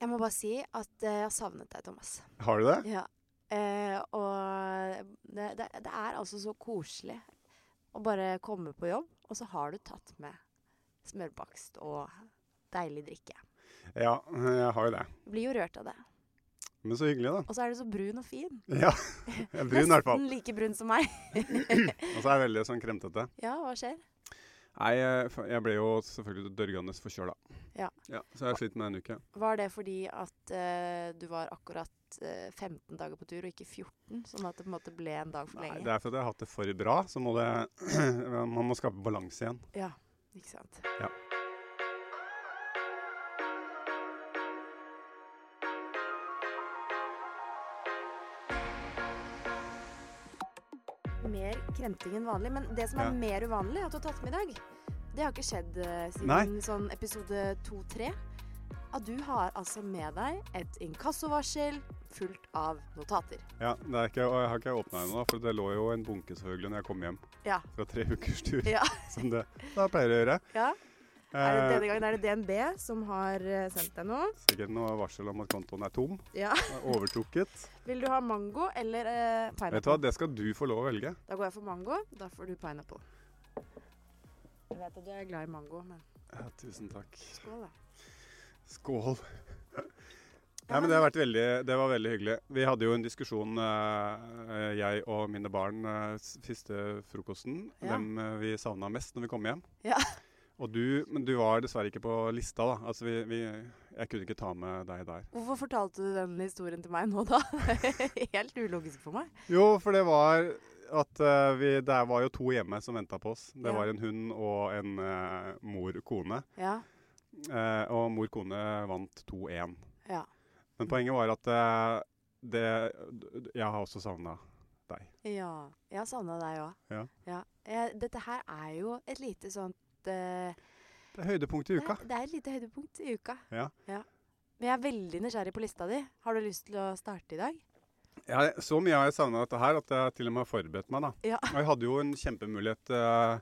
Jeg må bare si at eh, jeg har savnet deg, Thomas. Har du det? Ja. Eh, og det, det, det er altså så koselig å bare komme på jobb, og så har du tatt med smørbakst og deilig drikke. Ja, jeg har jo det. Jeg blir jo rørt av det. Men så hyggelig, da. Og så er du så brun og fin. Ja, jeg er Brun i hvert fall. Nesten like brun som meg. Og så er jeg veldig sånn kremtete. Ja, hva skjer? Nei, jeg f- jeg ble jo selvfølgelig dørgende forkjøla. Ja. Så jeg har slitt med en uke. Var det fordi at eh, du var akkurat eh, 15 dager på tur, og ikke 14? Sånn at det på en måte ble en dag for Nei, lenge? det er fordi jeg har hatt det for bra, så må det Man må skape balanse igjen. Ja, ikke sant. Ja. Mer krenting enn vanlig. Men det som er Ja. mer uvanlig, at du har tatt med i dag, det har ikke skjedd eh, siden Nei. sånn episode 2-3. At du har altså med deg et inkassovarsel fullt av notater. Ja, det er ikke, og jeg har ikke åpna ennå, da, for det lå jo en bunke selvfølgelig når jeg kom hjem Ja. fra tre ukers tur. Ja. Som det da pleier å gjøre. ja. Er det, Eh, denne gangen er det DNB som har eh, sendt deg noe. sikkert noe varsel om at kontoen er tom. Ja. er Overtrukket. Vil du ha mango eller eh, Vet du hva, pineapple? det skal du få lov å velge. Da går jeg for mango. Da får du pineapple. Jeg vet at du er glad i mango, men Ja, tusen takk. skål, da. Skål. Nei, men det, har vært veldig, det var veldig hyggelig. Vi hadde jo en diskusjon, eh, jeg og mine barn, eh, s- siste frokosten. Ja. Hvem eh, vi savna mest når vi kom hjem. Ja. Og du, men du var dessverre ikke på lista, da. Altså, vi, vi, jeg kunne ikke ta med deg der. Hvorfor fortalte du den historien til meg nå, da? Helt ulogisk for meg. Jo, for det var at eh, vi, det var jo to hjemme som venta på oss. Ja. Det var en hund og en eh, mor-kone. Ja. Eh, og mor-kone vant 2-1. Ja. Men poenget var at eh, det d- d- Jeg har også savna deg. Ja. Jeg har savna deg òg. Ja. Eh, Dette her er jo et lite sånt eh, Det er høydepunktet i uka. Det, det er et lite høydepunkt i uka. Ja. Men jeg er veldig nysgjerrig på lista di. Har du lyst til å starte i dag? Jeg, så mye har jeg savna dette her at jeg til og med har forberedt meg. da. Ja. Og jeg hadde jo en kjempemulighet eh,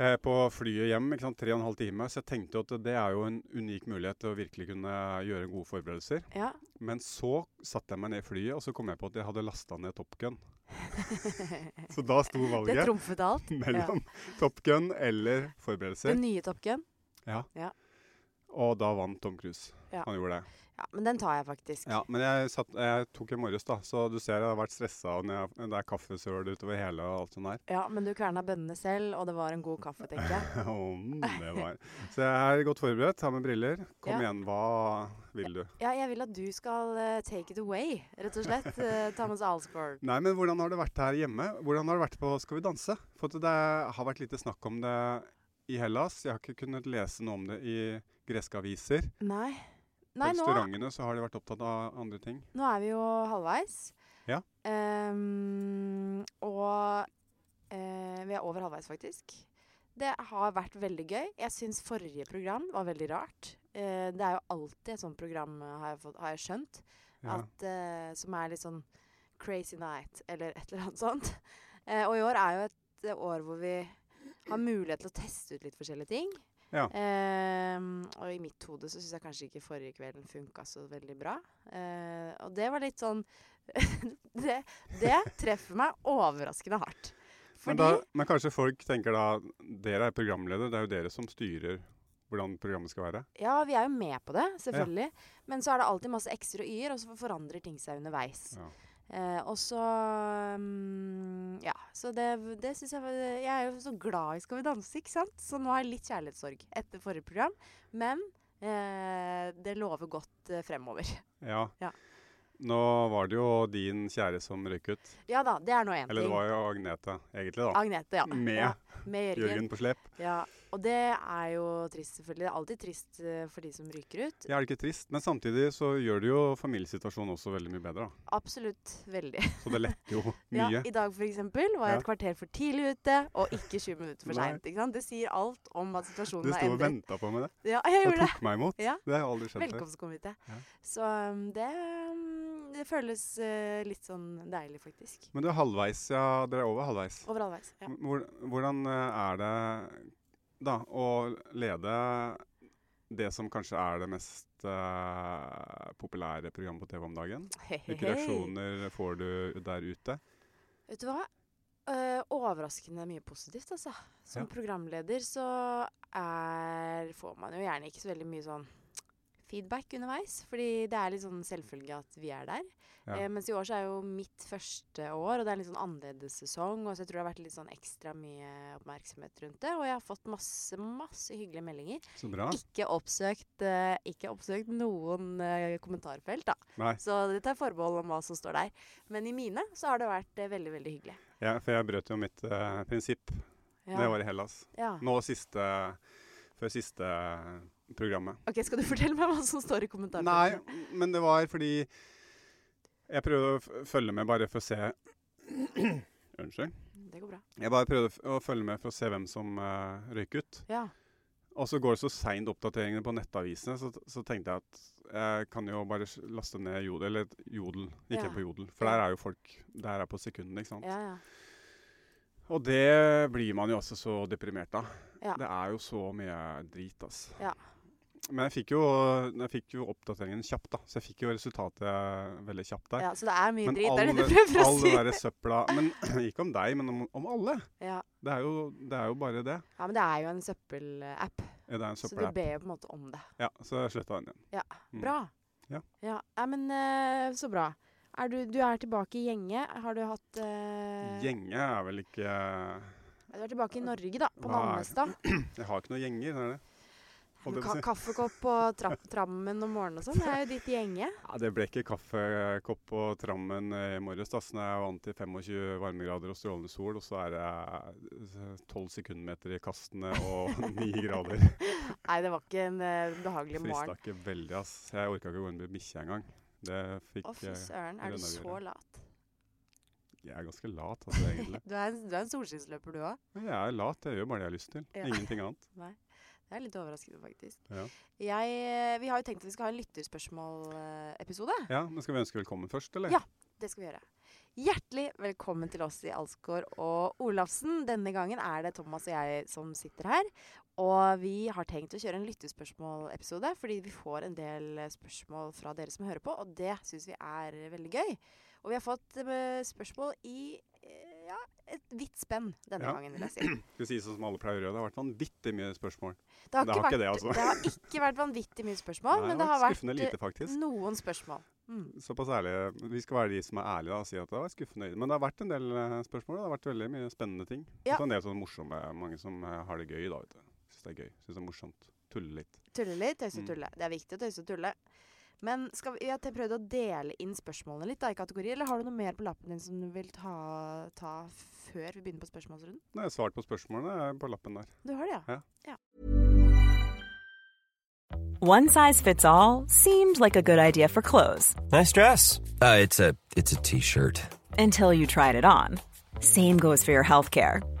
eh, på flyet hjem, ikke sant, tre og en halv time. Så jeg tenkte jo at det er jo en unik mulighet til å virkelig kunne gjøre gode forberedelser. Ja. Men så satte jeg meg ned i flyet, og så kom jeg på at jeg hadde lasta ned Top Gun. så da sto Det valget trumfet alt. mellom Top Gun eller Den forberedelser. nye Top Gun. Og da vant Tom Cruise. Ja. Han gjorde det. Ja, men den tar jeg faktisk. Ja, men jeg, satt, jeg tok i morges, da, så du ser jeg har vært stressa. Og når jeg, det er kaffesøl utover hele og alt sånt der. Ja, men du kverna bønnene selv, og det var en god kaffe, tenker jeg. Om det var. Så jeg er godt forberedt, har med briller. Kom Ja. igjen, hva vil du? Ja, jeg vil at du skal eh, take it away, rett og slett. eh, Thomas Alsgaard. Nei, men hvordan har det vært her hjemme? Hvordan har det vært på Skal vi danse? For at det har vært lite snakk om det i Hellas. Jeg har ikke kunnet lese noe om det i greske aviser. Nei. På Nei, nå, restaurantene så har de vært opptatt av andre ting. nå er vi jo halvveis. Ja. Ehm, og eh, vi er over halvveis, faktisk. Det har vært veldig gøy. Jeg syns forrige program var veldig rart. Eh, det er jo alltid et sånt program, eh, har jeg, fått, har jeg skjønt. Ja. at, eh, som er litt sånn Crazy Night eller et eller annet sånt. Eh, og i år er jo et eh, år hvor vi har mulighet til å teste ut litt forskjellige ting. Ja. Eh, og i mitt hode så syns jeg kanskje ikke forrige kvelden funka så veldig bra. Eh, og det var litt sånn det, det treffer meg overraskende hardt. Men, Fordi da, men kanskje folk tenker da Dere er programleder, det er jo dere som styrer hvordan programmet skal være. Ja, vi er jo med på det, selvfølgelig. Men så er det alltid masse x-er og y-er, og så forandrer ting seg underveis. Ja. Eh, og så mm, Ja. Så det, det syns jeg var Jeg er jo så glad i Skal vi danse, ikke sant? Så nå har jeg litt kjærlighetssorg etter forrige program. Men eh, det lover godt eh, fremover. Ja. Ja. Nå var det jo din kjære som røyk ut. Ja da, det er nå én Eller det ting. var jo Agnete, egentlig, da. Agnete, ja. Med ja. Med Jørgen. Jørgen på slep. Ja. Og det er jo trist, selvfølgelig. Det er alltid trist eh, for de som ryker ut. Ja, er det ikke trist? Men samtidig så gjør det jo familiesituasjonen også veldig mye bedre. da. Absolutt. Veldig. Så det letter jo Ja, mye. I dag for eksempel var jeg Ja. et kvarter for tidlig ute, og ikke 20 minutter for Nei. seint. ikke sant? Det sier alt om at Du situasjonen sto har og endret venta på meg det. Ja, jeg Og gjorde det. tok meg imot. Ja. Det har jeg aldri skjønt før. Velkomstkomité. Ja. Så um, det, um, det føles eh, litt sånn deilig, faktisk. Men du er halvveis, ja. Dere er over halvveis. Over halvveis. Ja. Hvor- Hvordan eh, er det da å lede det som kanskje er det mest eh, populære programmet på TV om dagen. Hei, hei, Hvilke hei. reaksjoner får du der ute? Vet du hva? Eh, overraskende mye positivt, altså. Som Ja. programleder så er, får man jo gjerne ikke så veldig mye sånn feedback underveis, fordi det er litt sånn selvfølge at vi er der. Ja. Eh, mens i år så er jo mitt første år, og det er en litt sånn annerledes sesong, og så jeg tror det har vært litt sånn ekstra mye oppmerksomhet rundt det, og jeg har fått masse, masse hyggelige meldinger. Så bra. Ikke oppsøkt, eh, ikke oppsøkt noen eh, kommentarfelt, da. Nei, Så det tar forbehold om hva som står der. Men i mine så har det vært eh, veldig, veldig hyggelig. ja, for jeg brøt jo mitt eh, prinsipp. Ja. Det var i Hellas. ja. Nå siste Før siste programmet. Ok, Skal du fortelle meg hva som står i Nei, kommentarfeltet? men det var fordi Jeg prøvde å f- følge med bare for å se Unnskyld. Det går bra. Jeg bare prøvde f- å følge med for å se hvem som uh, røyk ut. Ja. Og så går det så seint oppdateringene på nettavisene, så, så tenkte jeg at jeg kan jo bare s- laste ned Jodel. Eller et Jodel, ikke Ja. på Jodel. For der er jo folk Der er på sekundene, ikke sant. ja, ja. Og det blir man jo også så deprimert av. Ja. Det er jo så mye drit, ass. Ja. Men jeg fikk, jo, jeg fikk jo oppdateringen kjapt, da. Så jeg fikk jo resultatet veldig kjapt der. ja Så det er mye Men drit, all er det du det- prøver å all si? det derre søpla Men ikke om deg, men om, om alle. Ja. Det er, jo, det er jo bare det. ja, men det er jo en søppelapp, Det er en så du søppelapp. ber jo på en måte om det. Ja, så jeg sletta den igjen. Mm. Bra. Ja. Nei, men eh, så bra. Er du, du er tilbake i gjenge. Har du hatt eh, Gjenge er vel ikke Du er tilbake i Norge, da. På Hva er- Nannestad. Jeg har ikke noen gjenger, er det? Holdt jeg på å Ka si. kaffekopp og tra trammen om morgenen og sånn. Det er jo ditt gjenge. Ja, det ble ikke kaffekopp på trammen eh, i morges. da, så når Jeg er vant til 25 varmegrader og strålende sol, og så er det eh, 12 sekundmeter i kastene og 9 grader. Nei, det var ikke en eh, behagelig morgen. Frista ikke veldig, ass. Jeg orka ikke å gå inn med bikkja engang. Det Å, fikk fy eh, søren. Er du Rønnaug så gjorde. lat? Jeg er ganske lat, altså, egentlig. Du er, en- du er en solskinnsløper, du òg. Men jeg er lat. Jeg gjør bare det jeg har lyst til. Ja. Ingenting annet. Det er litt overraskende, faktisk. Ja. Jeg, eh, vi har jo tenkt at vi skal ha en eh, lytterspørsmål-episode. Ja, men Skal vi ønske velkommen først, eller? Ja. Det skal vi gjøre. Hjertelig velkommen til oss i Alsgaard og Olafsen. Denne gangen er det Thomas og jeg som sitter her. Og vi har tenkt å kjøre en lyttespørsmål-episode, fordi vi får en del eh, spørsmål fra dere som hører på, og det syns vi er veldig gøy. Og vi har fått eh, spørsmål i eh, ja, et vidt spenn denne Ja. gangen, vil jeg si. Skal vi si sånn som alle pleier å gjøre. Det har vært vanvittig mye spørsmål. Det har, Det ikke, har ikke vært, det, altså. det har ikke vært vanvittig mye spørsmål, Nei, men det har vært eh, skuffende lite, faktisk. Noen spørsmål. Mm. Såpass ærlige. Vi skal være de som er ærlige da, og si at det var skuffende. Men det har vært en del eh, spørsmål. og Det har vært veldig mye spennende ting. Ja. Og så en del sånne morsomme, mange som eh, har det gøy da, vet du. Syns det er gøy. Syns det er morsomt. Tulle litt. Tulle litt, tøyse og Mm. tulle. Det er viktig å tøyse og tulle. Men skal vi, jeg prøvde å dele inn spørsmålene litt da, i kategorier, eller har du noe mer på lappen din som du vil ta, ta før vi begynner på spørsmålsrunden? Nå har jeg svart på spørsmålene eh, på lappen der. Du har det, ja? Ja. One size fits all seemed like a good idea for clothes Nice dress. Uh, it's a it's a t-shirt. until you tried it on. Same goes for your healthcare.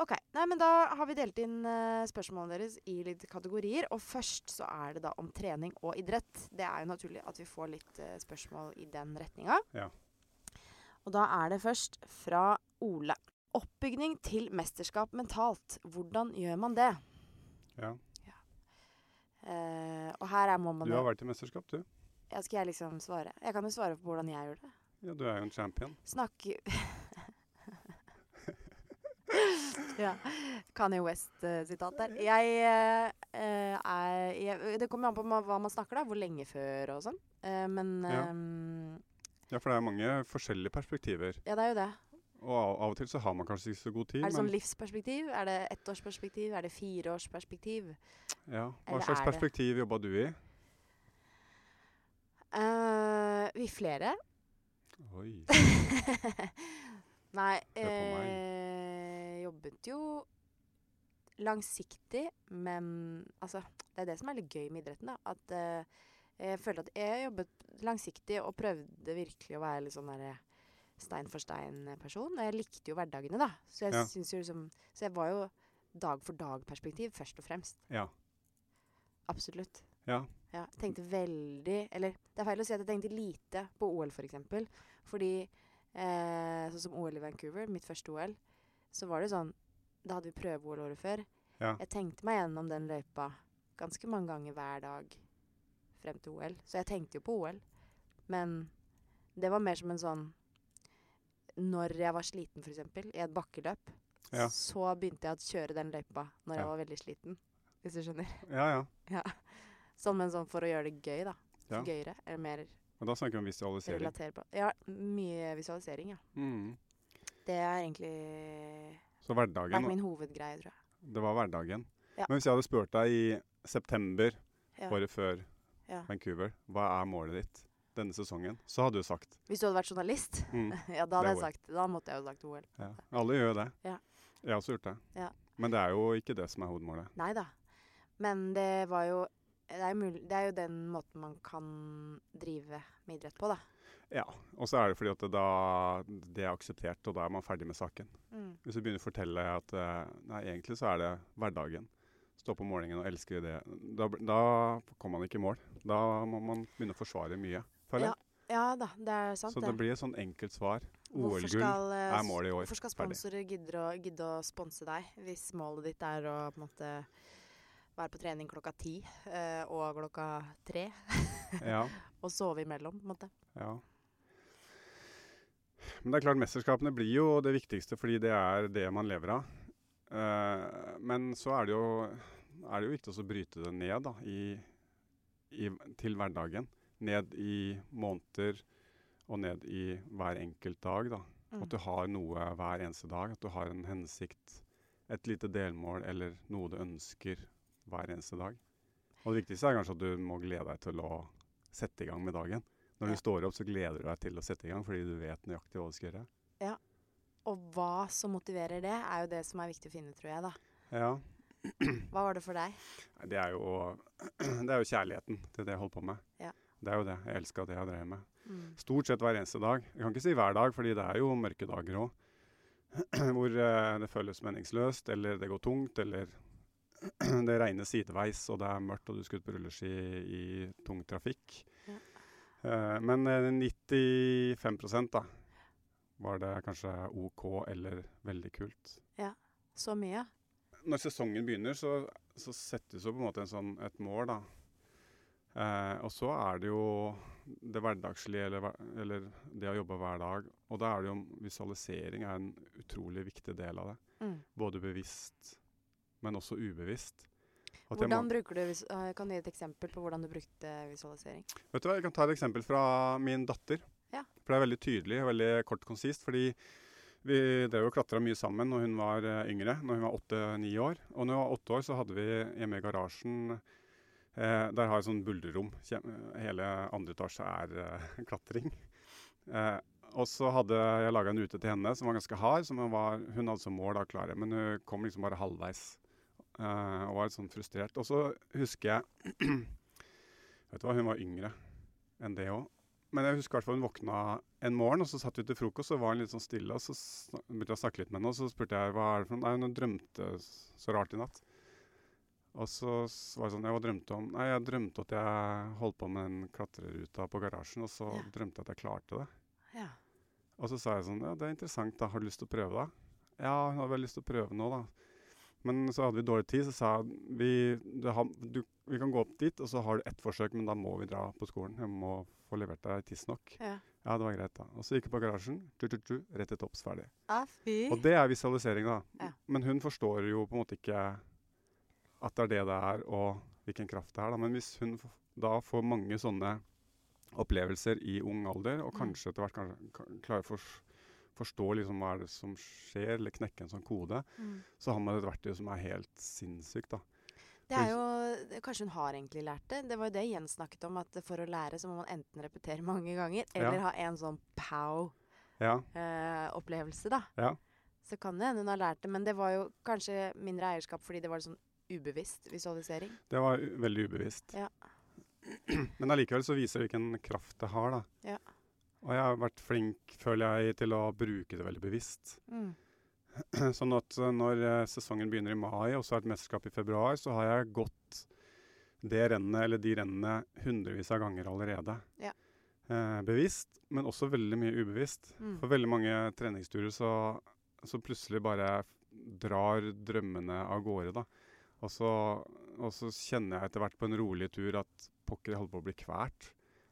Ok, nei, men da har vi delt inn eh, spørsmålene deres i litt kategorier. Og først så er det da om trening og idrett. Det er jo naturlig at vi får litt eh, spørsmål i den retninga. Ja. Og da er det først fra Ole. Oppbygning til mesterskap mentalt. Hvordan gjør man det? Ja. Eh, og her er må man Du jo- har vært i mesterskap, du. ja, Skal jeg liksom svare? Jeg kan jo svare på hvordan jeg gjør det. Ja, du er jo en champion. Snakke Ja. Kanye West-sitat der. Jeg eh, eh, er jeg, Det kommer jo an på ma- hva man snakker, da. Hvor lenge før og sånn. Eh, men Ja. ehm, Ja, for det er mange forskjellige perspektiver. ja. det er jo det. Og av, av og til så har man kanskje ikke så god tid. Er det sånn men livsperspektiv? Er det ettårsperspektiv? Er det fireårsperspektiv? ja. Hva eller slags er det- perspektiv jobba du i? Eh, vi flere. Oi. Nei på meg. eh, Jobbet jo langsiktig, men altså Det er det som er litt gøy med idretten, da. At eh, jeg følte at jeg jobbet langsiktig og prøvde virkelig å være litt sånn derre stein for stein-person. Og jeg likte jo hverdagene, da. Så jeg Ja. synes jo liksom Så jeg var jo dag for dag-perspektiv først og fremst. Ja. Absolutt. Ja. Ja, jeg tenkte veldig Eller det er feil å si at jeg tenkte lite på OL, f.eks. eksempel fordi eh, sånn som OL i Vancouver, mitt første OL, så var det sånn Da hadde vi prøve-OL året før. Ja. Jeg tenkte meg gjennom den løypa ganske mange ganger hver dag frem til OL. Så jeg tenkte jo på OL. Men det var mer som en sånn Når jeg var sliten, f.eks., i et bakkeløp, Ja. så begynte jeg å kjøre den løypa når Ja. jeg var veldig sliten. Hvis du skjønner. ja, ja. Sånn, men sånn for å gjøre det gøy, da. Ja. Gøyere. Eller mer Men da snakker vi om visualisering. relaterbart. Ja, mye visualisering, ja. Mm. Det er egentlig Så vært hverdagen, min hovedgreie, tror jeg. det var hverdagen. Ja. Men hvis jeg hadde spurt deg i september Ja. året før Ja. Vancouver, hva er målet ditt denne sesongen? Så hadde du sagt. Hvis du hadde vært journalist, Mm. ja, da, hadde Det er jeg sagt, da måtte jeg jo sagt OL. Ja. Alle gjør jo det. Ja. Jeg har også gjort det. Ja. Men det er jo ikke det som er hovedmålet. Nei da. Men det var jo det er, mul det er jo den måten man kan drive med idrett på, da. Ja, Og så er det fordi at det, da, det er akseptert, og da er man ferdig med saken. Mm. Hvis du begynner å fortelle at eh, nei, egentlig så er det hverdagen. Stå på morgenen og elske det. Da, bl- da kommer man ikke i mål. Da må man begynne å forsvare mye. føler jeg. Ja da, det er sant, så det blir et sånn enkelt svar. Hvorfor OL-gull skal, eh, er målet i år. Hvorfor skal Ferdig. sponsorer gidde å, gidde å sponse deg hvis målet ditt er å på en måte være på trening klokka ti eh, og klokka tre, Ja, og sove imellom? på en måte? ja. Men det er klart, mesterskapene blir jo det viktigste, fordi det er det man lever av. Eh, men så er det jo, er det jo viktig også å bryte det ned da, i, i, til hverdagen. Ned i måneder og ned i hver enkelt dag. Da. Mm. At du har noe hver eneste dag, at du har en hensikt, et lite delmål eller noe du ønsker hver eneste dag. Og det viktigste er kanskje at du må glede deg til å sette i gang med dagen. Når Ja. du står opp, så gleder du deg til å sette i gang, fordi du vet nøyaktig hva du skal gjøre. Og hva som motiverer det, er jo det som er viktig å finne, tror jeg. da. Ja. Hva var det for deg? Nei, Det er, jo, det er jo kjærligheten til det jeg holder på med. Ja. Det er jo det. Jeg elska det jeg drev med. Mm. Stort sett hver eneste dag. Jeg kan ikke si hver dag, fordi det er jo mørke dager òg. Hvor eh, det føles meningsløst, eller det går tungt, eller det regner sideveis, og det er mørkt, og du skal ut på rulleski i tung trafikk. Ja. Eh, men eh, 95 da, var det kanskje OK eller veldig kult. Så mye? Når sesongen begynner, så, så settes jo på en måte en sånn, et mål, da. Eh, og så er det jo det hverdagslige, eller, hver- eller det å jobbe hver dag. Og da er det jo visualisering er en utrolig viktig del av det. Mm. Både bevisst, men også ubevisst. At jeg Hvordan må- bruker du, vis- eh, Kan du gi et eksempel på hvordan du brukte visualisering? Vet du hva, Jeg kan ta et eksempel fra min datter. Ja. For Det er veldig tydelig og veldig kort konsist. fordi Vi drev og klatra mye sammen når hun var eh, yngre, når hun var åtte-ni år. Og når hun var åtte år, så hadde vi hjemme i garasjen eh, Der har jeg sånn buldrerom. Kjem- eh, Hele andre etasje er eh, klatring. Eh, og så hadde jeg laga en rute til henne som var ganske hard. som Hun, var, hun hadde som mål å klare, men hun kom liksom bare halvveis. eh, og var litt sånn frustrert. Og så husker jeg Vet du hva, hun var yngre enn det òg. Men jeg husker i hvert fall hun våkna en morgen, og så satt vi til frokost, og var hun litt sånn stille, og så snak- begynte jeg å snakke litt med henne, og så spurte jeg hva er det for noe? Nei, hun drømte s- så rart i natt. Og så s- var det sånn, jeg hva drømte om? Nei, jeg drømte at jeg holdt på med den klatreruta på garasjen, og så Ja. drømte jeg at jeg klarte det. Ja. Og så sa jeg sånn, ja, det er interessant da, har du lyst til å prøve da? Ja, hun hadde vel lyst til å prøve nå da. Men så hadde vi dårlig tid, så sa jeg, vi, du, har, du, vi kan gå opp dit, og så har du ett forsøk, men da må vi dra på skolen. Jeg må få levert deg tidsnok. Ja. Ja, det var greit da. Og så gikk jeg på garasjen, tu, tu, tu, rett til topps, ferdig. Ah, fy. Og det er visualisering da. Ja. Men hun forstår jo på en måte ikke at det er det det er, og hvilken kraft det er da. Men hvis hun f- da får mange sånne opplevelser i ung alder, og Mm. kanskje etter hvert kanskje, kan- klarer å fors- forstå liksom hva er det som skjer, eller knekke en sånn kode, Mm. så har man et verktøy som er helt sinnssykt da. Det er jo, det- Kanskje hun har egentlig lært det. Det var jo det Jens snakket om, at for å lære så må man enten repetere mange ganger, eller Ja. ha en sånn Ja, pow-opplevelse, da. Ja. Så kan det hende hun har lært det, men det var jo kanskje mindre eierskap fordi det var sånn ubevisst visualisering. det var u- veldig ubevisst. Ja. Men allikevel så viser det hvilken kraft det har da. Ja. Og jeg har vært flink, føler jeg, til å bruke det veldig bevisst. Mm. Sånn at eh, når eh, sesongen begynner i mai, og så er det et mesterskap i februar, så har jeg gått det rennet, eller de rennene, hundrevis av ganger allerede. Ja. Eh, bevisst, men også veldig mye ubevisst. Mm. For veldig mange treningsturer så, så plutselig bare drar drømmene av gårde, da. Og så, og så kjenner jeg etter hvert på en rolig tur at pokker, jeg holder på å bli kvert.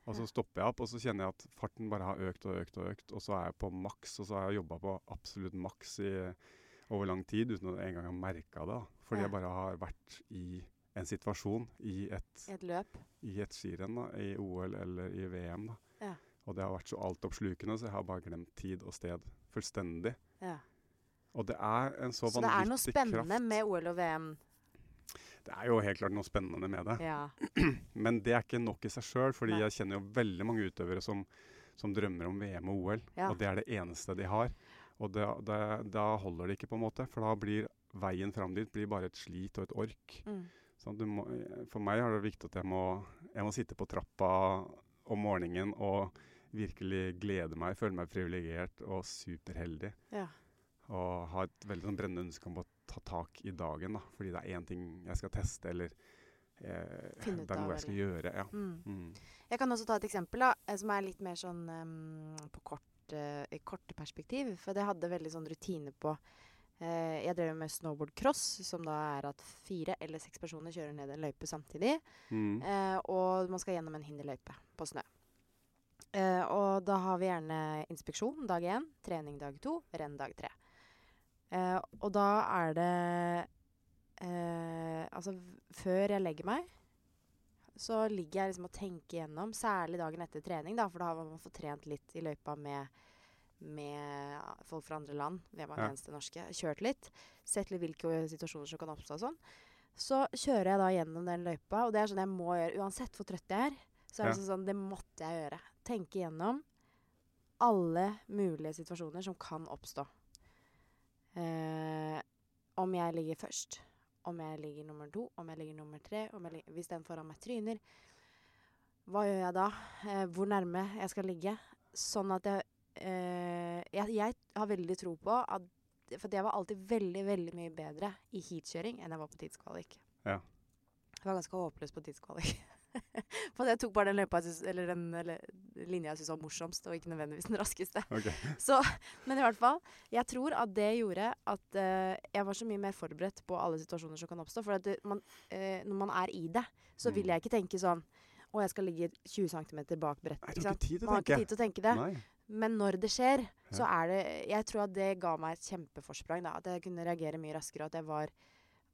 Og så Ja. stopper jeg opp, og så kjenner jeg at farten bare har økt og økt og økt. Og så er jeg på maks, og så har jeg jobba på absolutt maks i over lang tid uten å engang ha merka det. Da. Fordi Ja. jeg bare har vært i en situasjon, i et, I et løp. i et skirenn, da, i OL eller i VM. Da. Ja. Og det har vært så altoppslukende, så jeg har bare glemt tid og sted fullstendig. Ja. Og det er en så, Så, det er noe vanvittig kraft. spennende med OL og VM. Det er jo helt klart noe spennende med det. Ja. Men det er ikke nok i seg sjøl, fordi Nei. jeg kjenner jo veldig mange utøvere som, som drømmer om VM og OL, Ja. og det er det eneste de har. Og da, da, da holder det ikke, på en måte, for da blir veien fram dit blir bare et slit og et ork. Mm. Sånn, du må, for meg er det viktig at jeg må, jeg må sitte på trappa om morgenen og virkelig glede meg, føle meg privilegert og superheldig. Ja. Og ha et veldig sånn brennende ønske om å ta tak i dagen, da, fordi det er én ting jeg skal teste, eller eh, Finne ut det av, er noe jeg skal gjøre. Ja. Mm. Mm. Jeg kan også ta et eksempel da, eh, som er litt mer sånn em, på kort, eh, i korte perspektiv. For det hadde veldig sånn rutine på eh, Jeg drev med snowboard cross, som da er at fire eller seks personer kjører ned en løype samtidig. Mm. Eh, og man skal gjennom en hinderløype på snø. Eh, og da har vi gjerne inspeksjon dag én, trening dag to, renn dag tre. Eh, og da er det eh, Altså, v- før jeg legger meg, så ligger jeg liksom og tenker gjennom, særlig dagen etter trening, da, for da har man fått trent litt i løypa med, med folk fra andre land, hvem er den Ja. eneste norske, kjørt litt, sett litt hvilke situasjoner som kan oppstå og sånn. Så kjører jeg da gjennom den løypa, og det er sånn jeg må gjøre. Uansett hvor trøtt jeg er, så er det sånn det måtte jeg gjøre. Tenke gjennom alle mulige situasjoner som kan oppstå. Eh, om jeg ligger først, om jeg ligger nummer to, om jeg ligger nummer tre, om jeg ligger, hvis den foran meg tryner. Hva gjør jeg da? Eh, hvor nærme jeg skal ligge? Sånn at jeg eh, jeg, jeg har veldig tro på at For jeg var alltid veldig, veldig mye bedre i heatkjøring enn jeg var på tidskvalik. Ja. Jeg var ganske håpløs på tidskvalik. For jeg tok bare den løypa jeg syntes- eller den eller, linja jeg syntes var morsomst, og ikke nødvendigvis den raskeste. Ok. Så, men i hvert fall, jeg tror at det gjorde at eh, jeg var så mye mer forberedt på alle situasjoner som kan oppstå. For at det, man, eh, når man er i det, så vil Mm. jeg ikke tenke sånn Å, jeg skal ligge 20 cm bak Nei, brettet. det Ikke er sant? ikke tid til Man å har ikke tenke. tid til å tenke det. Nei. Men når det skjer, så Ja. er det Jeg tror at det ga meg et kjempeforsprang. Da. At jeg kunne reagere mye raskere. og At jeg var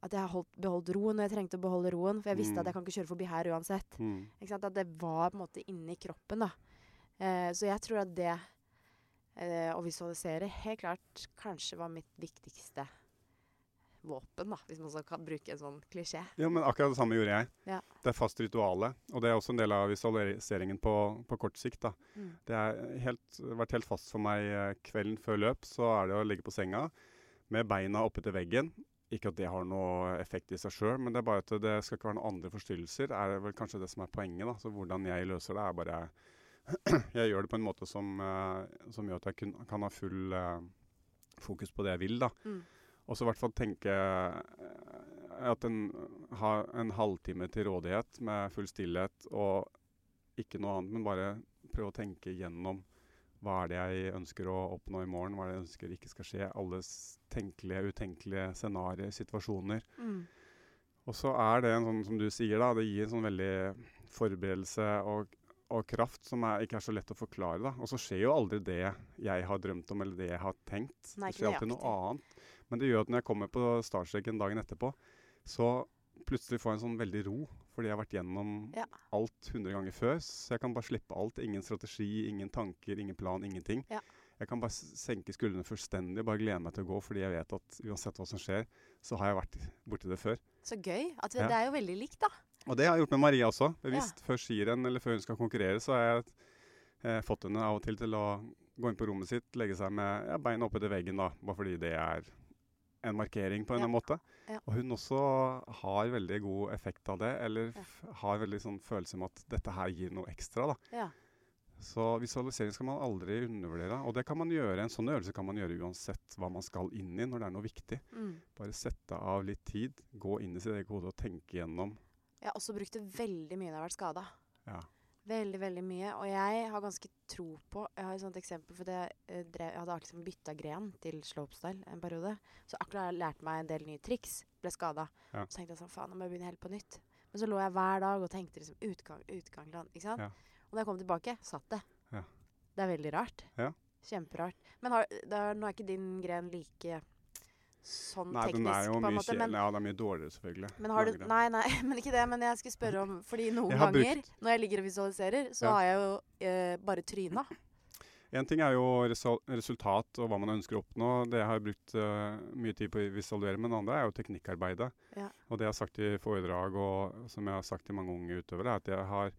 At jeg holdt, beholdt roen når jeg trengte å beholde roen. For jeg visste Mm. at jeg kan ikke kjøre forbi her uansett. Mm. Ikke sant? At det var på en måte inni kroppen, da. Eh, så jeg tror at det eh, å visualisere helt klart kanskje var mitt viktigste våpen, da, hvis man så kan bruke en sånn klisjé. Ja, men akkurat det samme gjorde jeg. Ja. Det er fast rituale, og det er også en del av visualiseringen på, på kort sikt. da. Mm. Det har helt, vært helt fast for meg eh, kvelden før løp, så er det å ligge på senga med beina oppe til veggen. Ikke at det har noe effekt i seg sjøl, men det er bare at det skal ikke være noen andre forstyrrelser. er vel kanskje det som er poenget. da. Så hvordan jeg løser det, er bare Jeg gjør det på en måte som, eh, som gjør at jeg kun, kan ha full eh, fokus på det jeg vil. da. Mm. Og så i hvert fall tenke eh, at en har en halvtime til rådighet med full stillhet og ikke noe annet, men bare prøve å tenke gjennom hva er det jeg ønsker å oppnå i morgen, hva er det jeg ønsker ikke skal skje. Alle s- tenkelige, utenkelige scenarioer, situasjoner. Mm. Og så er det en sånn, som du sier, da, det gir en sånn veldig forberedelse og, og kraft som er, ikke er så lett å forklare. da. Og så skjer jo aldri det jeg har drømt om eller det jeg har tenkt. Nei, det ikke skjer alltid noe nøyaktig. annet. Men det gjør at når jeg kommer på startstreken dagen etterpå, så plutselig får jeg en sånn veldig ro. Fordi jeg har vært gjennom Ja. alt 100 ganger før. Så jeg kan bare slippe alt. Ingen strategi, ingen tanker, ingen plan, ingenting. Ja. Jeg kan bare s- senke skuldrene fullstendig og bare glede meg til å gå, fordi jeg vet at uansett hva som skjer, så har jeg vært borti det før. Så gøy. At vi, Ja. Det er jo veldig likt, da. Og det har jeg gjort med Maria også. Bevisst. Før skirenn eller før hun skal konkurrere, så har jeg eh, fått henne av og til til å gå inn på rommet sitt, legge seg med ja, beina oppe til veggen, da, bare fordi det er en markering på en Ja. eller annen måte. Ja. Og hun også har veldig god effekt av det, eller Ja. f har veldig sånn følelse om at dette her gir noe ekstra. da. Ja. Så visualisering skal man aldri undervurdere. Og det kan man gjøre, en sånn øvelse kan man gjøre uansett hva man skal inn i når det er noe viktig. Mm. Bare sette av litt tid, gå inn i sitt eget hode og tenke gjennom. Jeg har også brukt det veldig mye når jeg har vært skada. Ja. Veldig, veldig mye. Og jeg har ganske tro på Jeg har et sånt eksempel, for det, eh, drev, jeg hadde liksom bytta gren til slopestyle en periode. Så akkurat jeg lærte meg en del nye triks, ble skada. Ja. Så tenkte jeg sånn Faen, nå må jeg begynne helt på nytt. Men så lå jeg hver dag og tenkte liksom utgang, utgang, land. Ikke sant? Ja. Og da jeg kom tilbake, satt det. Ja. Det er veldig rart. Ja. Kjemperart. Men har, det er, nå er ikke din gren like sånn Nei, teknisk, den er jo på en mye måte. kje- Men Ja, den er mye dårligere, selvfølgelig. men har du, Langrenn. nei, nei, men ikke det. Men jeg skulle spørre om Fordi noen Jeg har ganger når jeg ligger og visualiserer, så Ja. har jeg jo eh, bare tryna. En ting er jo resul- resultat og hva man ønsker å oppnå. Det har jeg brukt eh, mye tid på å visualisere. Men det andre er jo teknikkarbeidet. Ja. Og det jeg har sagt i foredrag, og som jeg har sagt til mange unge utøvere, er at jeg har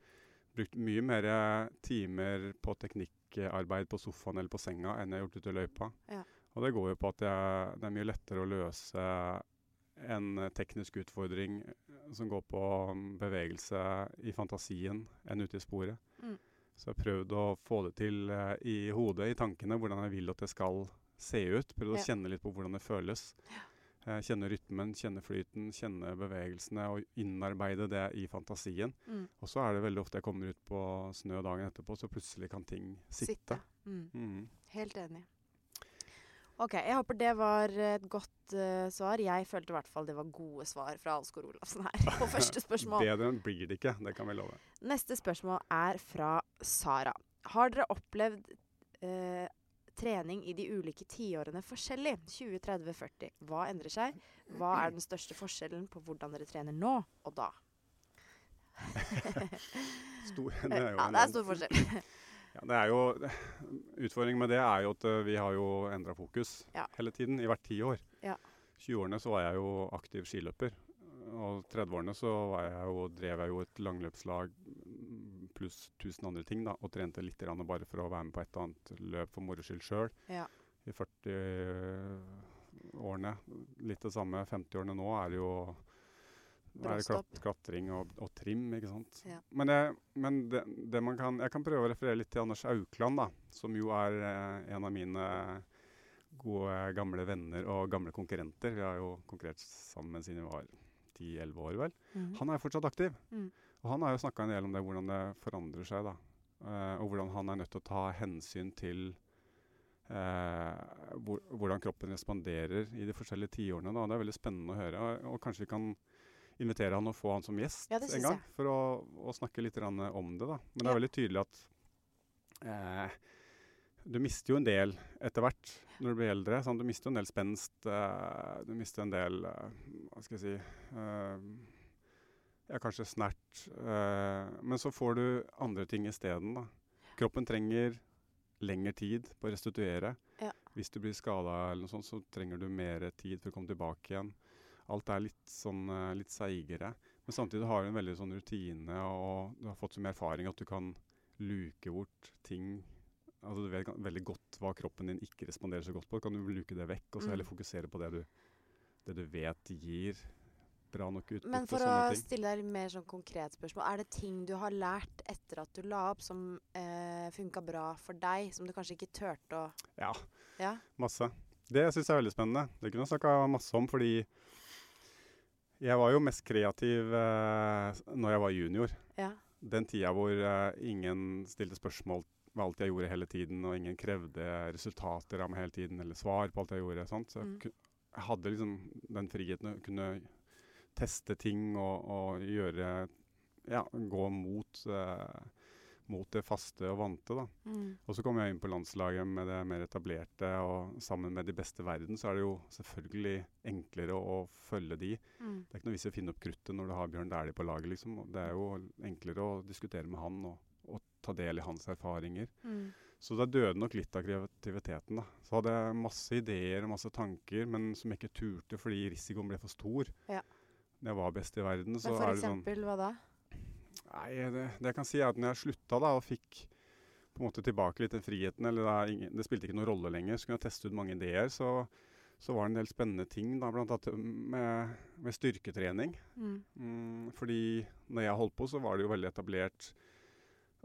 brukt mye mer timer på teknikkarbeid på sofaen eller på senga enn jeg har gjort ute i løypa. Ja. Og det går jo på at jeg, det er mye lettere å løse en teknisk utfordring som går på mm, bevegelse i fantasien enn ute i sporet. Mm. Så jeg har prøvd å få det til eh, i hodet, i tankene, hvordan jeg vil at det skal se ut. Prøvd å Ja. kjenne litt på hvordan det føles. Eh, Kjenne rytmen, kjenne flyten, kjenne bevegelsene og innarbeide det i fantasien. Mm. Og så er det veldig ofte jeg kommer ut på snø dagen etterpå, så plutselig kan ting sitte. Mm. Mhm. Helt enig. OK. Jeg håper det var et godt eh, svar. Jeg følte i hvert fall det var gode svar fra Alsgaard Olafsen her på første spørsmål. Bedre enn blir det ikke, det kan vi love. Neste spørsmål er fra Sara. Har dere opplevd eh, trening i de ulike tiårene forskjellig? 20, 30, 40. Hva endrer seg? Hva er den største forskjellen på hvordan dere trener nå og da? Stor, det er jo Ja, en- det er stor forskjell. Ja, det er jo, utfordringen med det er jo at eh, vi har jo endra fokus Ja. hele tiden, i hvert tiår. Ja. 20-årene så var jeg jo aktiv skiløper. Og 30-årene så var jeg jo, drev jeg jo et langløpslag mm, pluss 1000 andre ting, da. Og trente litt grann bare for å være med på et og annet løp for moro skyld sjøl. Ja. I 40-årene. Litt det samme. 50-årene nå er det jo nå er det Bråstopp. klat, klatring og, og trim, ikke sant. Ja. Men, jeg, men det, det man kan, jeg kan prøve å referere litt til Anders Aukland, da, som jo er eh, en av mine gode gamle venner og gamle konkurrenter. Vi har jo konkurrert sammen siden vi var 10-11 år, vel. Mhm. Han er fortsatt aktiv. Mm. Og han har jo snakka en del om det, hvordan det forandrer seg. da. Eh, og hvordan han er nødt til å ta hensyn til eh, hvor, hvordan kroppen responderer i de forskjellige tiårene. da. Det er veldig spennende å høre. Og, og kanskje vi kan invitere han og få han som gjest Ja, det synes en gang, for å, å snakke litt grann om det. da. Men det er veldig tydelig at eh, du mister jo en del etter hvert når du blir eldre. Sant? Du mister jo en del spenst. eh, du mister en del eh, Hva skal jeg si eh, ja, kanskje snert. eh, men så får du andre ting isteden, da. Kroppen trenger lengre tid på å restituere. Ja. Hvis du blir skada eller noe sånt, så trenger du mer tid for å komme tilbake igjen. Alt er litt sånn eh, litt seigere. Men samtidig har du en veldig sånn rutine, og du har fått så mye erfaring at du kan luke bort ting Altså Du vet gan- veldig godt hva kroppen din ikke responderer så godt på. Kan du luke det vekk, og så Mm. heller fokusere på det du, det du vet gir bra nok utbytte? Men for å sånne ting. stille deg et mer sånn konkret spørsmål, er det ting du har lært etter at du la opp som eh, funka bra for deg, som du kanskje ikke turte å Ja, Ja? masse. Det syns jeg er veldig spennende. Det kunne jeg snakka masse om, fordi jeg var jo mest kreativ eh, når jeg var junior. ja. Den tida hvor eh, ingen stilte spørsmål ved alt jeg gjorde hele tiden, og ingen krevde resultater av meg hele tiden, eller svar på alt jeg gjorde. Sant? Så jeg, Mm. ku- jeg hadde liksom den friheten å kunne teste ting og, og gjøre Ja, gå mot, eh, mot det faste og vante, da. Mm. Og så kom jeg inn på landslaget med det mer etablerte, og sammen med de beste i verden, så er det jo selvfølgelig enklere å, å følge de. Mm. Det er ikke noe vits i å finne opp kruttet når du har Bjørn Dæhlie på laget, liksom. Og Det er jo enklere å diskutere med han og, og ta del i hans erfaringer. Mm. Så det døde nok litt av kreativiteten, da. Så hadde jeg masse ideer og masse tanker, men som jeg ikke turte fordi risikoen ble for stor. Ja. Når jeg var best i verden, så Men for er det sånn eksempel, hva da? Nei, eh, det, det jeg kan si er at når jeg slutta da, og fikk på en måte tilbake litt den friheten, eller det, er ingen, det spilte ikke noen rolle lenger, så kunne jeg teste ut mange ideer, så, så var det en del spennende ting, da, blant annet eh, med, med styrketrening. Mm. Mm, fordi når jeg holdt på, så var det jo veldig etablert.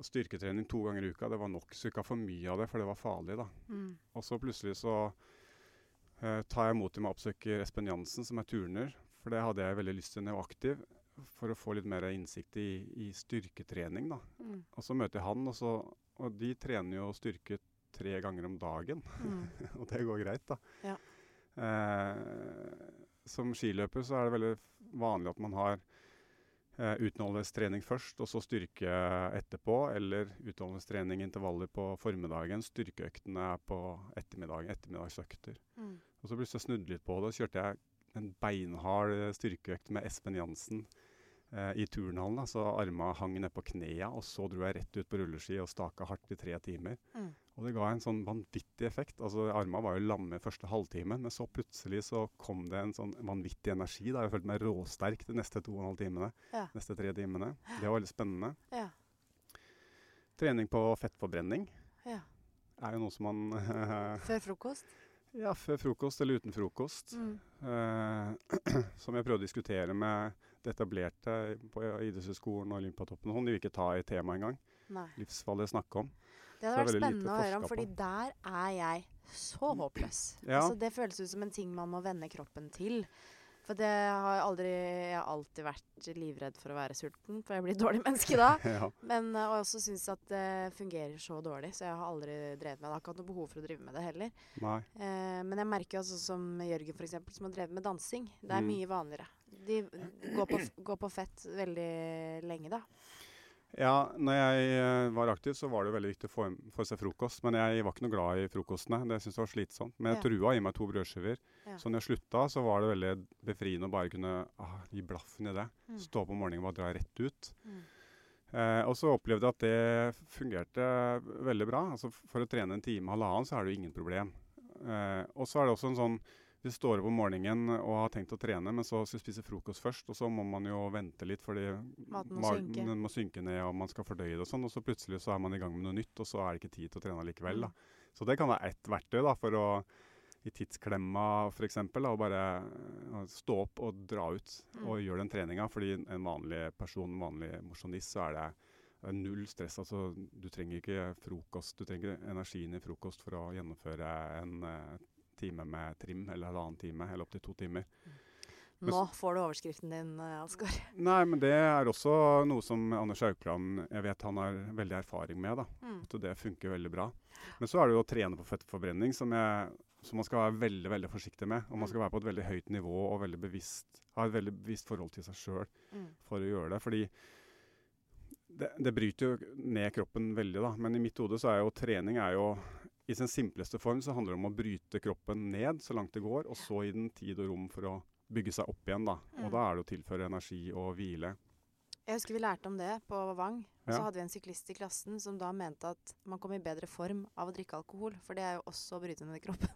Styrketrening to ganger i uka, det var nok, så ikke ha for mye av det, for det var farlig, da. Mm. Og så plutselig så eh, tar jeg mot til meg og oppsøker Espen Jansen, som er turner. For det hadde jeg veldig lyst til når jeg var aktiv, for å få litt mer innsikt i, i styrketrening. da. Mm. Og så møter jeg han, og, så, og de trener jo styrke tre ganger om dagen. Mm. og det går greit, da. Ja. Eh, som skiløper så er det veldig vanlig at man har eh, utholdenhetstrening først, og så styrke etterpå. Eller utholdenhetstrening, intervaller på formiddagen. Styrkeøktene er på ettermiddagen. Ettermiddagsøkter. Mm. Og så plutselig snudde jeg litt på det, og så kjørte jeg en beinhard eh, styrkeøkt med Espen Jansen eh, i turnhallen. Da. Så arma hang ned på knea, og så dro jeg rett ut på rulleski og staka hardt i tre timer. Mm. Og det ga en sånn vanvittig effekt. Altså Arma var jo lamme første halvtimen, men så plutselig så kom det en sånn vanvittig energi. Da. Jeg følte meg råsterk de neste to og en halv timene. Ja. Neste tre timene. Det var veldig spennende. Ja. Trening på fettforbrenning ja. er jo noe som man Før frokost. Ja, før frokost eller uten frokost. Mm. Eh, som jeg prøvde å diskutere med det etablerte på idrettshøyskolen og Olympiatoppen. og sånn. De vil ikke ta i temaet engang. Nei. Livsfarlig å snakke om. Det hadde Så vært det er veldig lite spennende å høre om, fordi forsket der er jeg så håpløs. Ja. Altså, det føles ut som en ting man må vende kroppen til. For det har jeg aldri Jeg har alltid vært livredd for å være sulten, for jeg blir et dårlig menneske da. ja. Men eh, og jeg også syns at det fungerer så dårlig, så jeg har aldri drevet med det. Jeg har ikke hatt noe behov for å drive med det heller. Nei. Eh, men jeg merker jo altså som Jørgen for eksempel, som har drevet med dansing. Det er Mm. mye vanligere. De går på, f- går på fett veldig lenge, da. Ja, når jeg eh, var aktiv, så var det jo veldig viktig å få, inn- få i seg frokost. Men jeg var ikke noe glad i frokostene. Det syntes jeg var slitsomt. Men jeg Ja. trua i meg to brødskiver. Ja. Så når jeg slutta, så var det veldig befriende å bare kunne ah, gi blaffen i det. Mm. Stå opp om morgenen og bare dra rett ut. Mm. Eh, og så opplevde jeg at det fungerte veldig bra. Altså f- for å trene en time, halvannen, så er det jo ingen problem. Eh, og så er det også en sånn hvis du står opp om morgenen og har tenkt å trene, men så skal du spise frokost først, og så må man jo vente litt fordi Maten må magen- synke. den må synke ned, og man skal fordøye det og sånn, og så plutselig så er man i gang med noe nytt, og så er det ikke tid til å trene likevel. Da. Mm. Så det kan være ett verktøy da, for å i tidsklemma f.eks. å bare eh, stå opp og dra ut Mm. og gjøre den treninga. Fordi en vanlig person, en vanlig mosjonist, så er det det er null stress. altså Du trenger ikke frokost, du trenger ikke energien i frokost for å gjennomføre en eh, time med trim, eller halvannen time, eller opptil to timer. Men Nå får du overskriften din, eh, Asgaard. Nei, men det er også noe som Anders Haukeland jeg vet han har veldig erfaring med. da, Mm. At det funker veldig bra. Men så er det jo å trene på fettforbrenning, som, jeg, som man skal være veldig veldig forsiktig med. Og man skal være på et veldig høyt nivå og veldig bevisst, ha et veldig bevisst forhold til seg sjøl Mm. for å gjøre det. Fordi det, det bryter jo ned kroppen veldig, da. Men i mitt hode så er jo trening er jo I sin simpleste form så handler det om å bryte kroppen ned så langt det går, og så gi den tid og rom for å bygge seg opp igjen, da. Mm. Og da er det å tilføre energi og hvile. Jeg husker vi lærte om det på Vang. og Så Ja. hadde vi en syklist i klassen som da mente at man kom i bedre form av å drikke alkohol, for det er jo også å bryte ned i kroppen.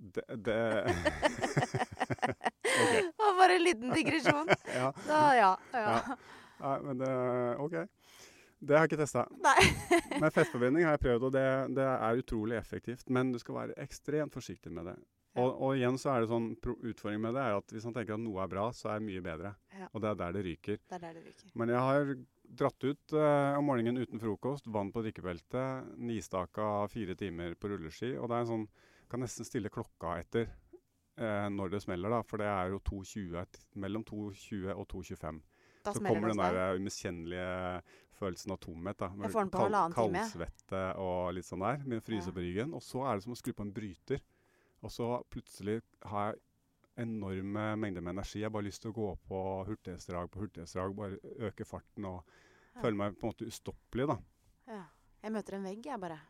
Det, det Det var Bare en liten digresjon. Ja. Da, ja, ja. Ja. Nei, men det OK. Det har jeg ikke testa. Nei. Men fettforbrenning har jeg prøvd, og det, det er utrolig effektivt. Men du skal være ekstremt forsiktig med det. Ja. Og, og igjen så er det sånn pro- utfordring med det er at hvis man tenker at noe er bra, så er mye bedre. Ja. Og det er der det ryker. Det er der det ryker. Men jeg har dratt ut eh, om morgenen uten frokost, vann på drikkebeltet, nistaka fire timer på rulleski. Og det er en sånn Kan nesten stille klokka etter eh, når det smeller, da. For det er jo 2.20, mellom 2.20 og 2.25 Da så smeller kommer det den hos der deg. eh, umiskjennelige følelsen av tomhet. da. med Jeg får den på halvannen time, jeg. Kaldsvette og litt sånn der, med å fryse Ja. på ryggen. Og så er det som å skru på en bryter. Og så plutselig har jeg enorme mengder med energi. Jeg har bare lyst til å gå på hurtighetsdrag på hurtighetsdrag, bare øke farten og Ja. føle meg på en måte ustoppelig, da. Ja. Jeg møter en vegg, jeg bare.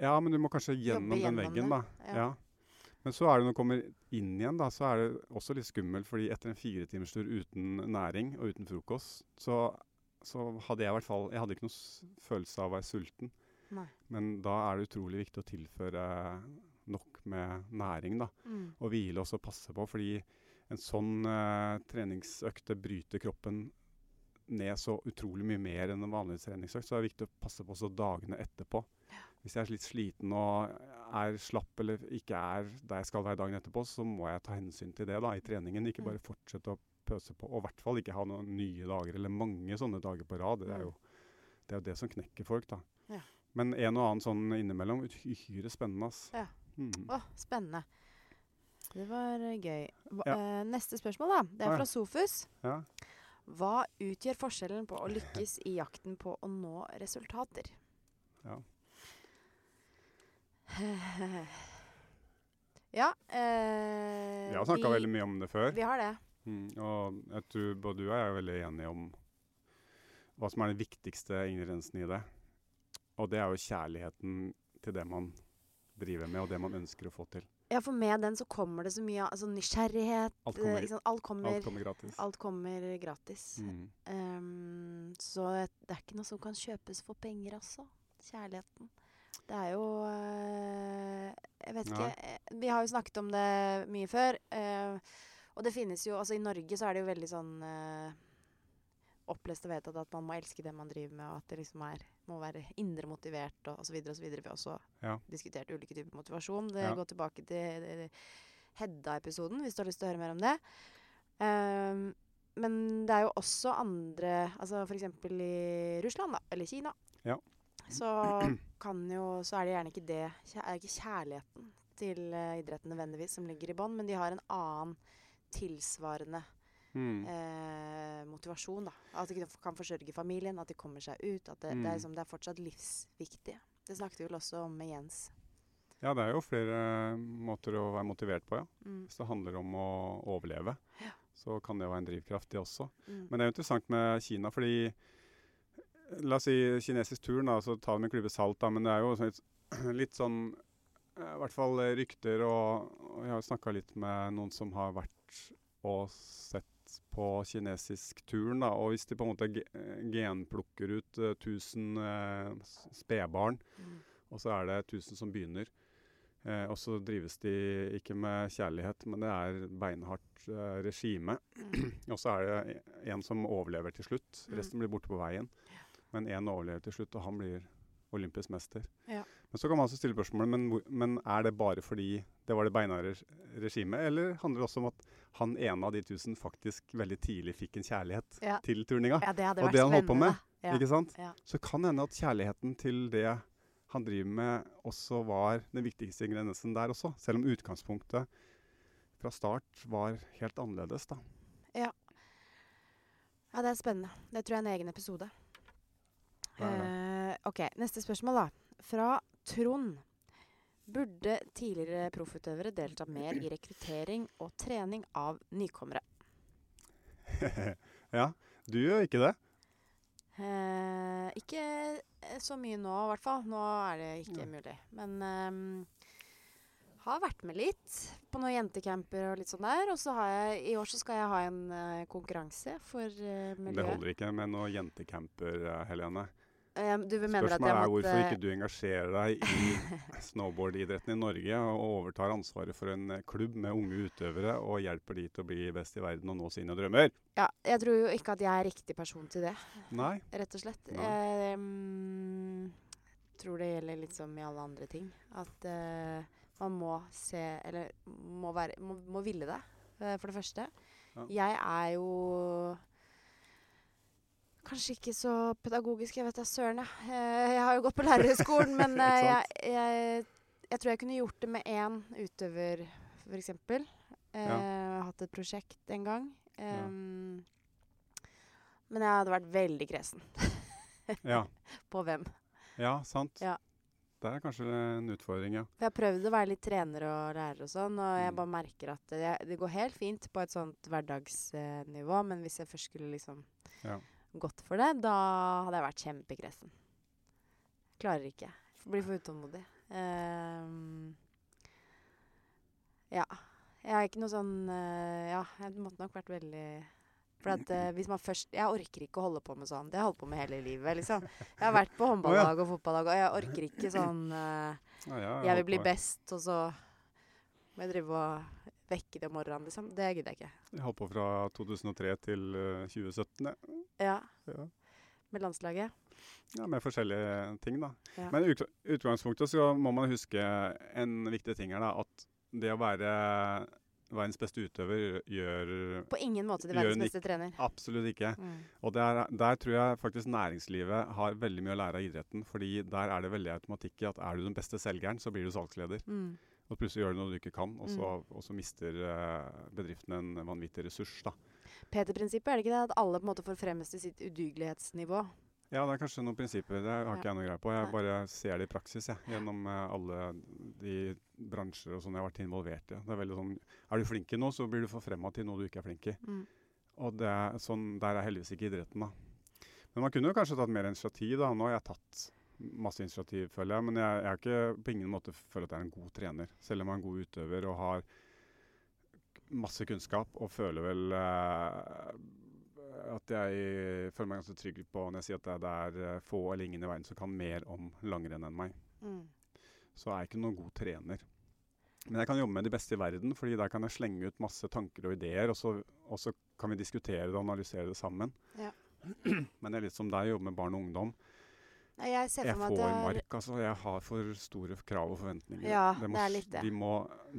Ja, men du må kanskje gjennom den gjennom veggen, da. det, ja. Ja. Men så er det når du kommer inn igjen, da, så er det også litt skummelt. fordi etter en firetimerstur uten næring og uten frokost, så, så hadde jeg i hvert fall Jeg hadde ikke noen s- følelse av å være sulten. Nei. Men da er det utrolig viktig å tilføre nok med næring, da. Mm. Og hvile også passe på, fordi en sånn eh, treningsøkte bryter kroppen ned så utrolig mye mer enn en vanlig treningsøkt. Så det er viktig å passe på også dagene etterpå. Hvis jeg er litt sliten og er slapp eller ikke er der jeg skal være dagen etterpå, så må jeg ta hensyn til det da, i treningen. Ikke Mm. bare fortsette å pøse på. Og i hvert fall ikke ha noen nye dager eller mange sånne dager på rad. Det er jo Det er jo det som knekker folk, da. Mm. Ja. Men en og annen sånn innimellom. Uhyre spennende, ass. Ja. Mm. Å, spennende. Det var eh, gøy. Hva, Ja. eh, neste spørsmål, da. Det Å, ja. er fra Sofus. Ja. Hva utgjør forskjellen på å lykkes i jakten på å nå resultater? Ja. ja eh, Vi har snakka veldig mye om det før. Vi har det. Mm. Og jeg tror både du og jeg er veldig enige om hva som er den viktigste ingrediensen i det. Og det er jo kjærligheten til det man driver med, og det man ønsker å få til. Ja, for med den så kommer det så mye av- altså nysgjerrighet Alt kommer. eh, ikke sant? Alt, kommer Alt kommer gratis. alt kommer gratis. Mm. Ehm, så det er ikke noe som kan kjøpes for penger, altså. Kjærligheten. Det er jo eh, Jeg vet ikke. Nei. eh, Vi har jo snakket om det mye før. eh, og det finnes jo Altså, i Norge så er det jo veldig sånn eh, opplest og vedtatt at man må elske det man driver med, og at det liksom er må være indre motivert og osv. videre og så videre. Vi har også Ja. diskutert ulike typer motivasjon. Det Ja. går tilbake til eh, Hedda-episoden, hvis du har lyst til å høre mer om det. Ehm, men det er jo også andre Altså f.eks. i Russland, da, eller Kina, Ja. så kan jo Så er det gjerne ikke det kjæ- Er ikke kjærligheten til eh, idretten nødvendigvis som ligger i bånn, men de har en annen tilsvarende Mm. eh, motivasjon, da. At de kan- kan forsørge familien, at de kommer seg ut. At det, det, Mm. er, liksom, det er fortsatt livsviktig. Det snakket vi vel også om med Jens. Ja, det er jo flere eh, måter å være motivert på, ja. Mm, Hvis det handler om å overleve, Ja. så kan det være en drivkraft, det også. mm, Men det er jo interessant med Kina, fordi eh, La oss si kinesisk turn, da, så ta det med en klype salt, da, men det er jo sånn litt, litt sånn eh, I hvert fall eh, rykter, og, og jeg har snakka litt med noen som har vært og sett på kinesisk turn, da, og hvis de på en måte ge- eh, genplukker ut eh, 1000 eh, s- spedbarn mm. og så er det 1000 som begynner. Eh, og så drives de ikke med kjærlighet, men det er beinhardt eh, regime. og så er det e- en som overlever til slutt. Mm. Resten blir borte på veien. Men én overlever til slutt, og han blir olympisk mester. Ja. Men så kan man også stille spørsmålet men, hvor- men er det bare fordi det var det beinharde reg- regimet, eller handler det også om at han ene av de 1000 faktisk veldig tidlig fikk en kjærlighet Ja. til turninga? Ja, det hadde Og vært det han holdt på spennende, med, da. Ja. ikke sant? ja. Så kan hende at kjærligheten til det han driver med, også var den viktigste ingrediensen der også. Selv om utgangspunktet fra start var helt annerledes, da. Ja, det er spennende. Det tror jeg er en egen episode. Det er det. Eh, ok, neste spørsmål da. Fra Trond. Burde tidligere proffutøvere delta mer i rekruttering og trening av nykommere? ja. Du gjør ikke det. Eh, ikke eh, så mye nå, i hvert fall. Nå er det ikke mulig. Men ehm, har vært med litt på noen jentecamper og litt sånn der. Og så har jeg, i år så skal jeg ha en eh, konkurranse for eh, Det miljøet. holder ikke med noen jentecamper, eh, Helene. Eh, du mener at Spørsmålet jeg er måtte hvorfor ikke du engasjerer deg i snowboardidretten i Norge og overtar ansvaret for en eh, klubb med unge utøvere og hjelper de til å bli best i verden og nå sine drømmer. Ja, jeg tror jo ikke at jeg er riktig person til det. Nei. rett og slett. Nei. Jeg mm, tror det gjelder litt som i alle andre ting. At eh, man må se Eller må, være, må, må ville det, eh, for det første. Ja. Jeg er jo Kanskje ikke så pedagogisk, jeg vet da søren, jeg. Eh, Jeg har jo gått på lærerhøgskolen, men Ikke eh, sant? jeg, jeg, jeg tror jeg kunne gjort det med én utøver, f.eks. Eh, Hatt et prosjekt en gang. Ja. Em, Men jeg hadde vært veldig kresen Ja. på hvem. ja, sant. Ja. Det er kanskje en utfordring, ja. For jeg prøvde å være litt trener og lærer og sånn, og jeg Mm. bare merker at det, det går helt fint på et sånt hverdagsnivå, men hvis jeg først skulle liksom Ja. gått for det, da hadde jeg vært kjempekresen. Klarer ikke. Blir for utålmodig. Ehm, ja. Jeg er ikke noe sånn eh, Ja, jeg måtte nok vært veldig For at eh, hvis man først Jeg orker ikke å holde på med sånn. Det har jeg holdt på med hele livet, liksom. Jeg har vært på håndballag og fotballag, og jeg orker ikke sånn eh, Ja, ja, jeg vil håper bli det. best, og så må jeg drive og vekke det om morgenen, liksom. Det gidder jeg ikke. Jeg holdt på fra 2003 til eh, 2017, jeg. Ja, ja. Med landslaget. ja. Med forskjellige ting, da. Ja. Men i utga- utgangspunktet så må man huske en viktig ting her, da. At det å være verdens beste utøver gjør På ingen måte til Gjør verdens hun beste trener. absolutt ikke. Mm. Og der, der tror jeg faktisk næringslivet har veldig mye å lære av idretten. fordi der er det veldig automatikk i at er du den beste selgeren, så blir du salgsleder. Mm. Og plutselig gjør du noe du ikke kan, og så, og så mister eh, bedriften en vanvittig ressurs. da. PT-prinsippet, er det ikke det? At alle på en måte får fremmes til sitt udugelighetsnivå. Ja, det er kanskje noen prinsipper. Det har ikke jeg noe greie på. Jeg Nei. bare ser det i praksis jeg, gjennom eh, alle de bransjer og sånn jeg har vært involvert i. Det er veldig sånn, Er du flink i noe, så blir du forfremma til noe du ikke er flink i. Mm. Og det er sånn, Der er heldigvis ikke idretten, da. Men man kunne jo kanskje tatt mer initiativ. da. Nå har jeg tatt masse initiativ, føler jeg. Men jeg, jeg er ikke på ingen måte føler at jeg er en god trener. Selv om jeg er en god utøver og har masse kunnskap og føler vel eh, at jeg føler meg ganske trygg på når jeg sier at det, det er eh, få eller ingen i verden som kan mer om langrenn enn meg. Mm. Så er jeg ikke noen god trener. Men jeg kan jobbe med de beste i verden, fordi der kan jeg slenge ut masse tanker og ideer, og så, og så kan vi diskutere det og analysere det sammen. Ja. Men det er litt som deg, å jobbe med barn og ungdom. Nei, Jeg ser Jeg for meg at får det er mark, altså. Jeg har for store krav og forventninger. Ja, må det er s- litt det. De må,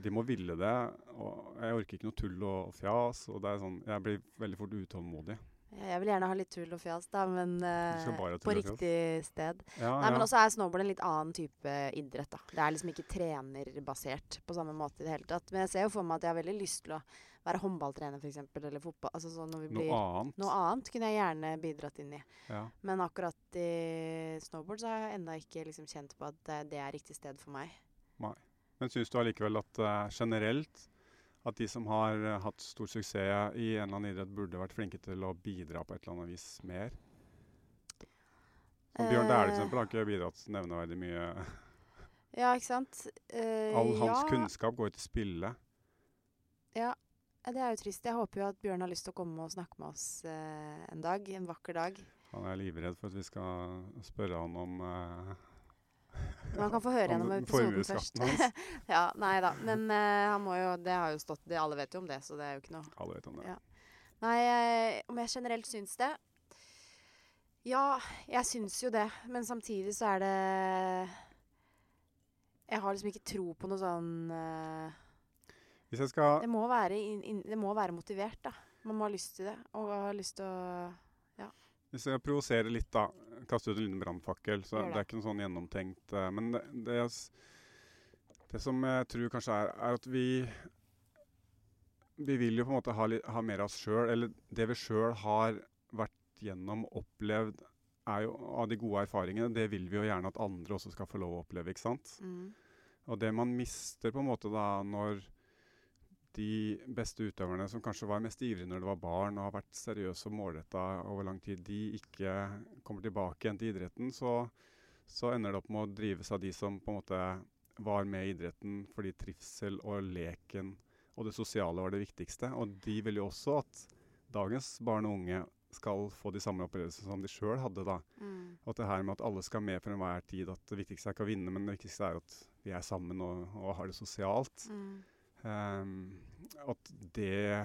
de må ville det. Og jeg orker ikke noe tull og, og fjas. Og det er sånn, jeg blir veldig fort utålmodig. Ja, Jeg vil gjerne ha litt tull og fjas, da, men eh, skal bare ha på tull og fjas. riktig sted. Ja, Nei, ja. men altså, også er snowboard en litt annen type idrett, da. Det er liksom ikke trenerbasert på samme måte i det hele tatt. Men jeg ser jo for meg at jeg har veldig lyst til å være håndballtrener, f.eks., eller fotball. Altså sånn når vi blir noe annet. Noe annet kunne jeg gjerne bidratt inn i. Ja. Men akkurat i snowboard så har jeg ennå ikke liksom kjent på at eh, det er riktig sted for meg. Men syns du allikevel at eh, generelt at de som har eh, hatt stor suksess i en eller annen idrett, burde vært flinke til å bidra på et eller annet vis mer? Som Bjørn Dæhlie Eh, f.eks. har ikke bidratt nevneverdig mye. Ja, ikke sant. Eh, All hans ja, kunnskap går jo til spille. Det er jo trist. Jeg håper jo at Bjørn har lyst til å komme og snakke med oss eh, en dag. En vakker dag. Han er livredd for at vi skal spørre han om eh, Men han kan få høre om gjennom episoden først. formuesskatten hans. ja, nei da. Men eh, han må jo Det har jo stått det, Alle vet jo om det, så det er jo ikke noe Alle vet om det. Ja. Nei, jeg, om jeg generelt syns det? Ja, jeg syns jo det. Men samtidig så er det Jeg har liksom ikke tro på noe sånn eh, Hvis jeg skal det, må være inn- inn- det må være motivert, da. Man må ha lyst til det. Og ha lyst til å Hvis jeg provoserer litt, da. Kaste ut en liten brannfakkel. Så Gjør det. det. er ikke noe sånn gjennomtenkt. eh, Men det, det, jeg s- det som jeg tror kanskje er, er at vi Vi vil jo på en måte ha, li- ha mer av oss sjøl. Eller det vi sjøl har vært gjennom, opplevd, er jo av de gode erfaringene. Det vil vi jo gjerne at andre også skal få lov å oppleve, ikke sant? mm, Og det man mister på en måte da når de beste utøverne som kanskje var mest ivrige når de var barn og har vært seriøse og målretta over lang tid, de ikke kommer tilbake igjen til idretten, så, så ender det opp med å drives av de som på en måte var med i idretten fordi trivsel og leken og det sosiale var det viktigste. Og de vil jo også at dagens barn og unge skal få de samme opplevelsene som de sjøl hadde da. mm. Og at det her med at alle skal med for enhver tid, at det viktigste er ikke å vinne, men det viktigste er at vi er sammen og, og har det sosialt. Mm. Ehm, at det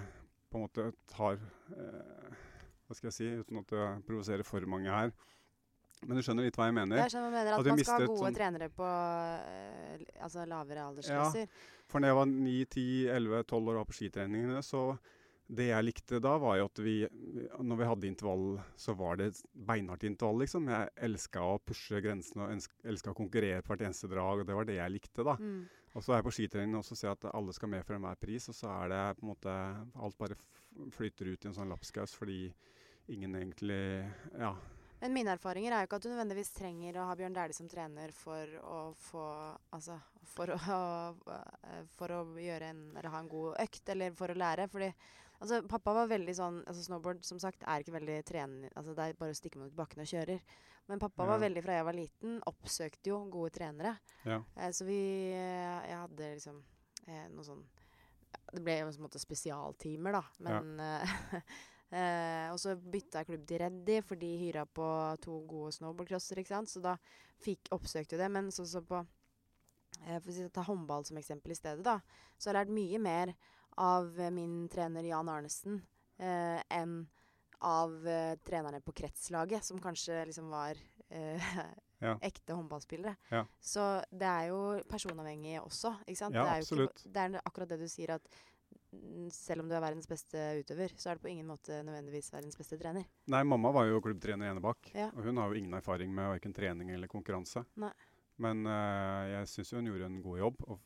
på en måte tar eh, Hva skal jeg si, uten at jeg provoserer for mange her. Men du skjønner litt hva jeg mener. Jeg skjønner hva du mener. At At vi man skal ha mistet gode sånn- trenere på eh, l- altså lavere aldersklasser. For når jeg var 9, 10, 11, 12 år og var på skitreningene, så det jeg likte da, var jo at vi Når vi hadde intervall, så var det beinhardt intervall, liksom. Jeg elska å pushe grensene og elska å konkurrere på hvert eneste drag, og det var det jeg likte, da. Mm. Og så er jeg på skitrening og så ser jeg at alle skal med for enhver pris, og så er det på en måte Alt bare f- flyter ut i en sånn lapskaus fordi ingen egentlig Ja. Men mine erfaringer er jo ikke at du nødvendigvis trenger å ha Bjørn Dæhlie som trener for å få Altså for å, eh, for å gjøre en Eller ha en god økt, eller for å lære. Fordi Altså, pappa var veldig sånn altså Snowboard som sagt, er ikke veldig trener... Altså, det er bare å stikke mot bakken og kjører. Men pappa var Ja. veldig, fra jeg var liten, oppsøkte jo gode trenere. Ja. Eh, så vi eh, Jeg hadde liksom eh, noe sånn Det ble jo på en måte spesialtimer, da. Men eh, eh, Og så bytta jeg klubb til Reddy, for de hyra på to gode snowboardcrosser, ikke sant. Så da fikk oppsøkte jo det. Men sånn som på eh, For å si, ta håndball som eksempel i stedet, da. Så har jeg lært mye mer av eh, min trener Jan Arnesen eh, enn av eh, trenerne på kretslaget, som kanskje liksom var eh, Ja. ekte håndballspillere. Ja. Så det er jo personavhengig også, ikke sant? Ja, det er jo absolutt. Ikke, det er akkurat det du sier, at mm, selv om du er verdens beste utøver, så er du på ingen måte nødvendigvis verdens beste trener. Nei, mamma var jo klubbtrener i Enebakk, Ja. og hun har jo ingen erfaring med verken trening eller konkurranse. Nei. Men eh, jeg syns hun gjorde en god jobb, og,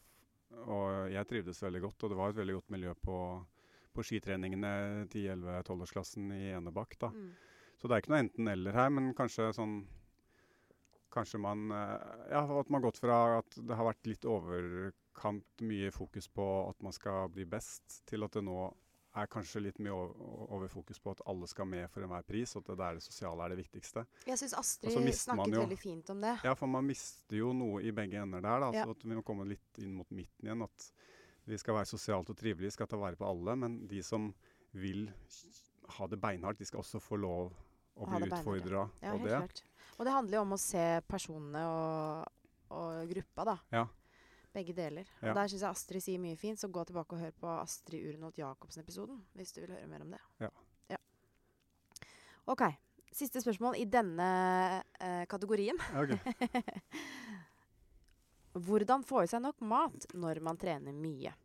og jeg trivdes veldig godt. Og det var et veldig godt miljø på, på skitreningene 10-11-12-årsklassen i Enebakk. da. Mm. Så det er ikke noe enten-eller her, men kanskje sånn Kanskje man eh, Ja, at man har gått fra at det har vært litt overkant mye fokus på at man skal bli best, til at det nå er kanskje litt mye over, over fokus på at alle skal med for enhver pris, og at det der det sosiale er det viktigste. Jeg syns Astrid Og så mister man snakket jo- veldig fint om det. Ja, for man mister jo noe i begge ender der, da. Ja. Så at vi må komme litt inn mot midten igjen. At vi skal være sosialt og trivelige, skal ta vare på alle. Men de som vil ha det beinhardt, de skal også få lov å Ha det bli beinhardt, utfordra Ja, på helt det. klart. Og det handler jo om å se personene og, og gruppa, da. Ja. Begge deler. Ja. Og der syns jeg Astrid sier mye fint, så gå tilbake og hør på Astrid Urenholt Jacobsen-episoden hvis du vil høre mer om det. Ja. Ja. OK. Siste spørsmål i denne eh, kategorien. Ja, ok. Hvordan få i seg nok mat når man trener mye?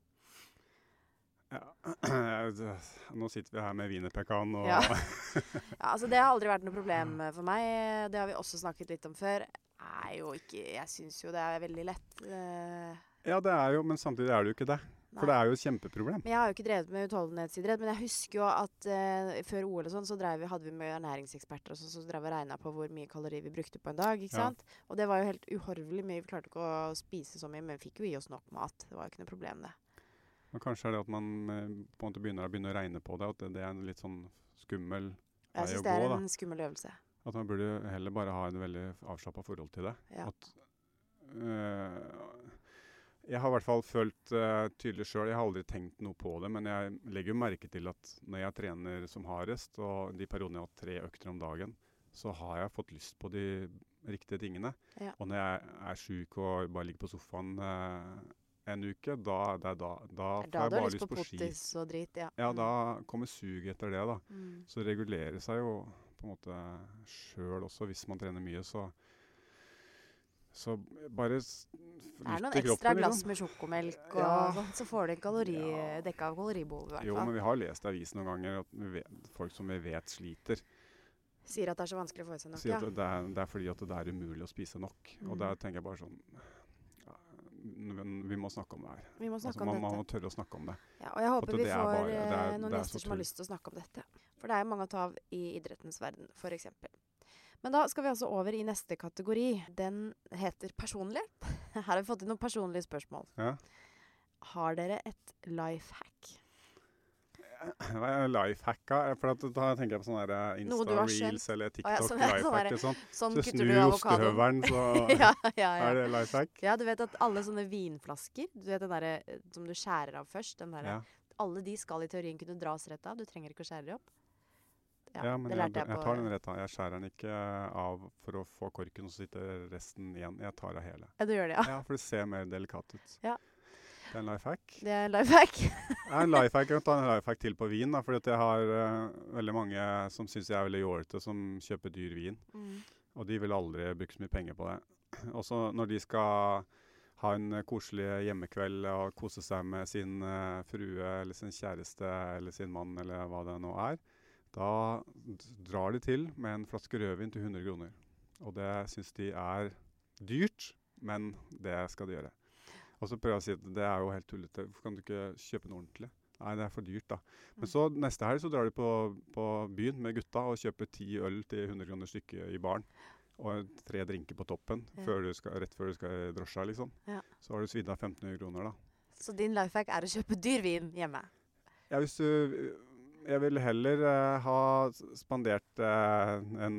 Ja. Det- Nå sitter vi her med wienerpekan og Ja. Ja, altså Det har aldri vært noe problem Mm. eh, for meg. Det har vi også snakket litt om før. Er jo ikke, jeg syns jo det er veldig lett. eh, Ja, det er jo, men samtidig er det jo ikke det. For Nei. det er jo et kjempeproblem. Men jeg har jo ikke drevet med utholdenhetsidrett, men jeg husker jo at eh, før OL og sånn, så drev vi, hadde vi med ernæringseksperter og sånn, så drev vi og regna på hvor mye kalorier vi brukte på en dag. ikke Ja. sant? Og det var jo helt uhorvelig mye. Vi klarte ikke å spise så mye, men vi fikk jo i oss nok mat. Det var jo ikke noe problem, det. Men kanskje er det at man eh, på en måte begynner, å- begynner å regne på det, at det, det er en litt sånn skummel Jeg vei å syns det gå. er da. en skummel øvelse. At man burde heller bare ha en veldig avslappa forhold til det. Ja. At, øh, jeg har i hvert fall følt øh, tydelig sjøl, jeg har aldri tenkt noe på det, men jeg legger jo merke til at når jeg trener som hardest, og de periodene jeg har hatt tre økter om dagen, så har jeg fått lyst på de riktige tingene. Ja. Og når jeg er sjuk og bare ligger på sofaen øh, en uke, da, det er da, Det da er da får jeg du har bare lyst på ski. potis og drit. Ja, Ja, Mm. da kommer suget etter det, da. Mm. Så det regulerer seg jo på en måte sjøl også, hvis man trener mye, så Så bare s- Det er lytt noen til ekstra kroppen, glass liksom. med sjokomelk og Ja. sånn, så får du en kalori, Ja. dekka av kaloribehovet, i hvert Jo, fall. men vi har lest i avisen noen ganger at vi vet, folk som vi vet sliter, Sier at det er så vanskelig å få i seg nok. sier Ja. at det er, det er fordi at det er umulig å spise nok. Og Mm. der tenker jeg bare sånn ja, men Vi må snakke om det her. Vi må Altså, snakke man, om dette. man må tørre å snakke om det. Ja, og jeg håper det vi er får bare- det er- eh, det noen er gjester så som har tull. lyst til å snakke om dette. For det er jo mange å ta av i idrettens verden, f.eks. Men da skal vi altså over i neste kategori. Den heter personlighet. Her har vi fått inn noen personlige spørsmål. Ja. Har dere et life hack? Life hacka For at, da tenker jeg på sånne der, eh, Noe du har Insta-reels eller ja, TikTok sånn- life sånn hack der- og sånn. Sånn Så kutter snu du avokadoen. ostehøvelen, så ja, ja, er ja. det life hack. ja, du vet at alle sånne vinflasker du vet den der, eh, som du skjærer av først den der, Ja. Alle de skal i teorien kunne dras rett av. Du trenger ikke å skjære dem opp. Ja, men det jeg, lærte jeg, jeg på tar den rett av. Jeg skjærer den ikke eh, av for å få korken, og så sitter resten igjen. Jeg tar av hele. Ja, du gjør det, ja. Ja, for det ser mer delikat ut. Ah. Ja. Det er en life hack. Det er life hack. Jeg har en life hack, jeg kan ta en life hack til på vin, da, fordi at jeg har eh, veldig mange som syns jeg er veldig jålete, som kjøper dyr vin. Mm. Og de vil aldri bruke så mye penger på det. Også når de skal ha en eh, koselig hjemmekveld og kose seg med sin eh, frue eller sin kjæreste eller sin mann eller hva det nå er, da d- drar de til med en flaske rødvin til 100 kroner. Og det syns de er dyrt, men det skal de gjøre. Og så prøver jeg å si at det er jo helt tullete. Hvorfor kan du ikke kjøpe noe ordentlig? Nei, det er for dyrt, da. Men så neste helg så drar de på, på byen med gutta og kjøper ti øl til 100 kroner stykket i baren. Og tre drinker på toppen Ja. før du skal, rett før du skal i drosja, liksom. Ja. Så har du svidd av 1500 kroner, da. Så din life hack er å kjøpe dyr vin hjemme. Ja, hvis du Jeg ville heller eh, ha spandert eh, en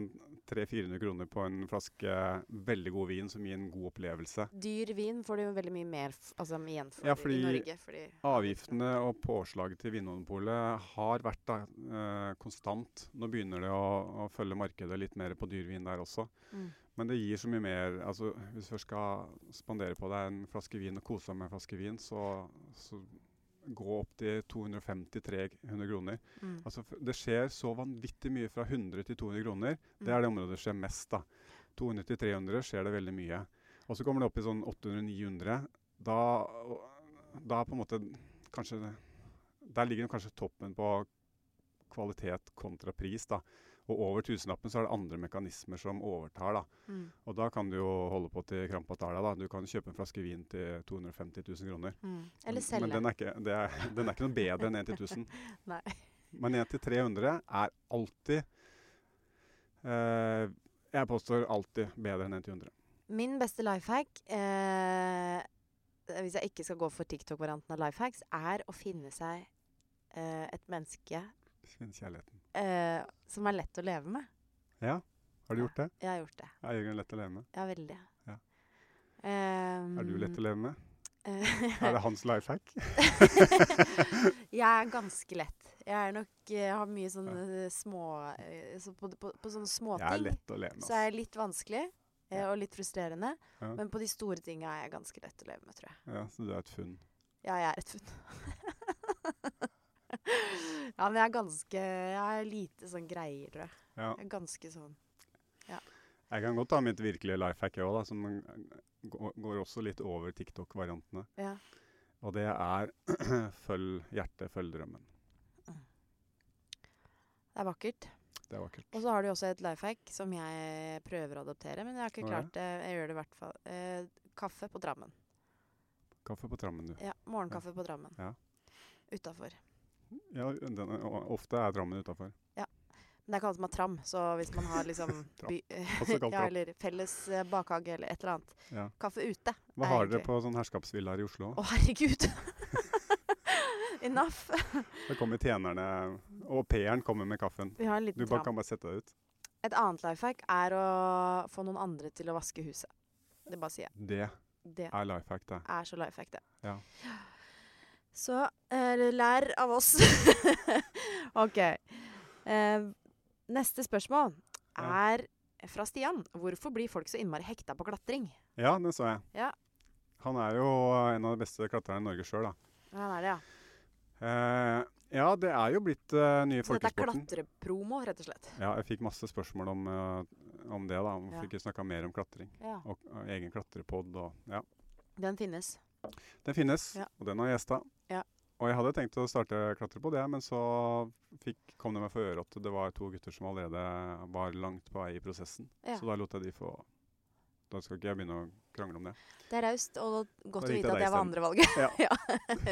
300-400 kroner på en flaske eh, veldig god vin som gir en god opplevelse. Dyr vin får du jo veldig mye mer f- altså, igjen for Ja, i fordi Norge. Fordi Avgiftene og påslaget til Vinmonopolet har vært da, eh, konstant. Nå begynner det å, å følge markedet litt mer på dyrvin der også. Mm. Men det gir så mye mer. altså Hvis du først skal spandere på deg en flaske vin og kose deg med en flaske vin, så, så gå opp til 250-300 kroner. Mm. Altså, f- det skjer så vanvittig mye fra 100 til 200 kroner. Det Mm. er det området det skjer mest. da. 200 til 300 skjer det veldig mye. Og så kommer det opp i sånn 800-900. Da, og- da er på en måte kanskje det- Der ligger kanskje toppen på kvalitet kontra pris. da. Og over tusenlappen så er det andre mekanismer som overtar. da. Mm. Og da kan du jo holde på til krampa tar deg. da. Du kan kjøpe en flaske vin til 250 000 kroner. Mm. Eller Men- Men selge. den er, ikke, det er, den er ikke noe bedre enn 1 til 1000. Nei. Men 1 til 300 er alltid eh, Jeg påstår alltid bedre enn 1 til 100. Min beste life hack, eh, hvis jeg ikke skal gå for TikTok-varianten av life hacks, er å finne seg eh, et menneske Finn kjærligheten. eh, som er lett å leve med. Ja, har du gjort det? Jeg har gjort det. Er Jørgen lett å leve med? Ja, veldig. Eh, Ja. Er du Mm. lett å leve med? leve? Er det hans life hack? jeg er ganske lett. Jeg er nok, eh, har mye sånne små eh, så på, på, på sånne Jeg er småting lett å leve med. så er jeg litt vanskelig eh, og litt frustrerende. Ja. Men på de store tinga er jeg ganske lett å leve med, tror jeg. altså. Ja, så du er et funn. Ja, jeg er et funn. ja, men jeg er ganske Jeg er lite sånn greier, tror jeg. Ja. jeg er ganske sånn Jeg kan godt ta mitt virkelige life hack òg, som gå- går også litt over TikTok-variantene. Ja. Og det er følg hjertet, følg drømmen. Det er vakkert. Det er vakkert. Og så har du jo også et life hack som jeg prøver å adoptere, men jeg har ikke Hva er klart det. Jeg gjør det i hvert fall. Eh, kaffe på Drammen. Kaffe på trammen, du. Ja, morgenkaffe på Drammen. Ja. Utafor. Ja, den, er- og ofte er trammen Men det utafor. er ikke alle som har tram, så hvis man har liksom Tram. by, Også kalt ja, tram. eller felles eh, bakhage eller et eller annet. Ja. Kaffe ute. Hva har dere egentlig- på sånn herskapsvilla her i Oslo? Å, herregud! Enough! Da kommer tjenerne, og P-eren kommer med kaffen. Vi har en Du liten tram. bare kan bare sette deg ut. Et annet life hack er å få noen andre til å vaske huset. Det bare sier jeg. Det Det er life hack, det. er så life hack, det. Ja. Så eh, lær av oss. OK. Eh, neste spørsmål Ja. er fra Stian. Hvorfor blir folk så innmari hekta på klatring? Ja, det så jeg. Ja. Han er jo en av de beste klatrerne i Norge sjøl, da. Ja, det er det, ja. Eh, ja, det er jo blitt eh, nye Så dette er folkesporten. klatrepromo, rett og slett. Ja, jeg fikk masse spørsmål om, eh, om det, da. Om Ja. Hvorfor ikke snakka mer om klatring. Ja. Og eh, egen klatrepod og Ja. Den finnes. Den finnes, Ja. og den har jeg gjesta. Ja. Og jeg hadde tenkt å starte klatrepod, jeg, men så fikk, kom det meg for øre at det var to gutter som allerede var langt på vei i prosessen. Ja. Så da lot jeg de få Da skal ikke jeg begynne å krangle om det. Det er raust og godt å Da ringte vite at jeg deg det var isteden. andre valget. Ja.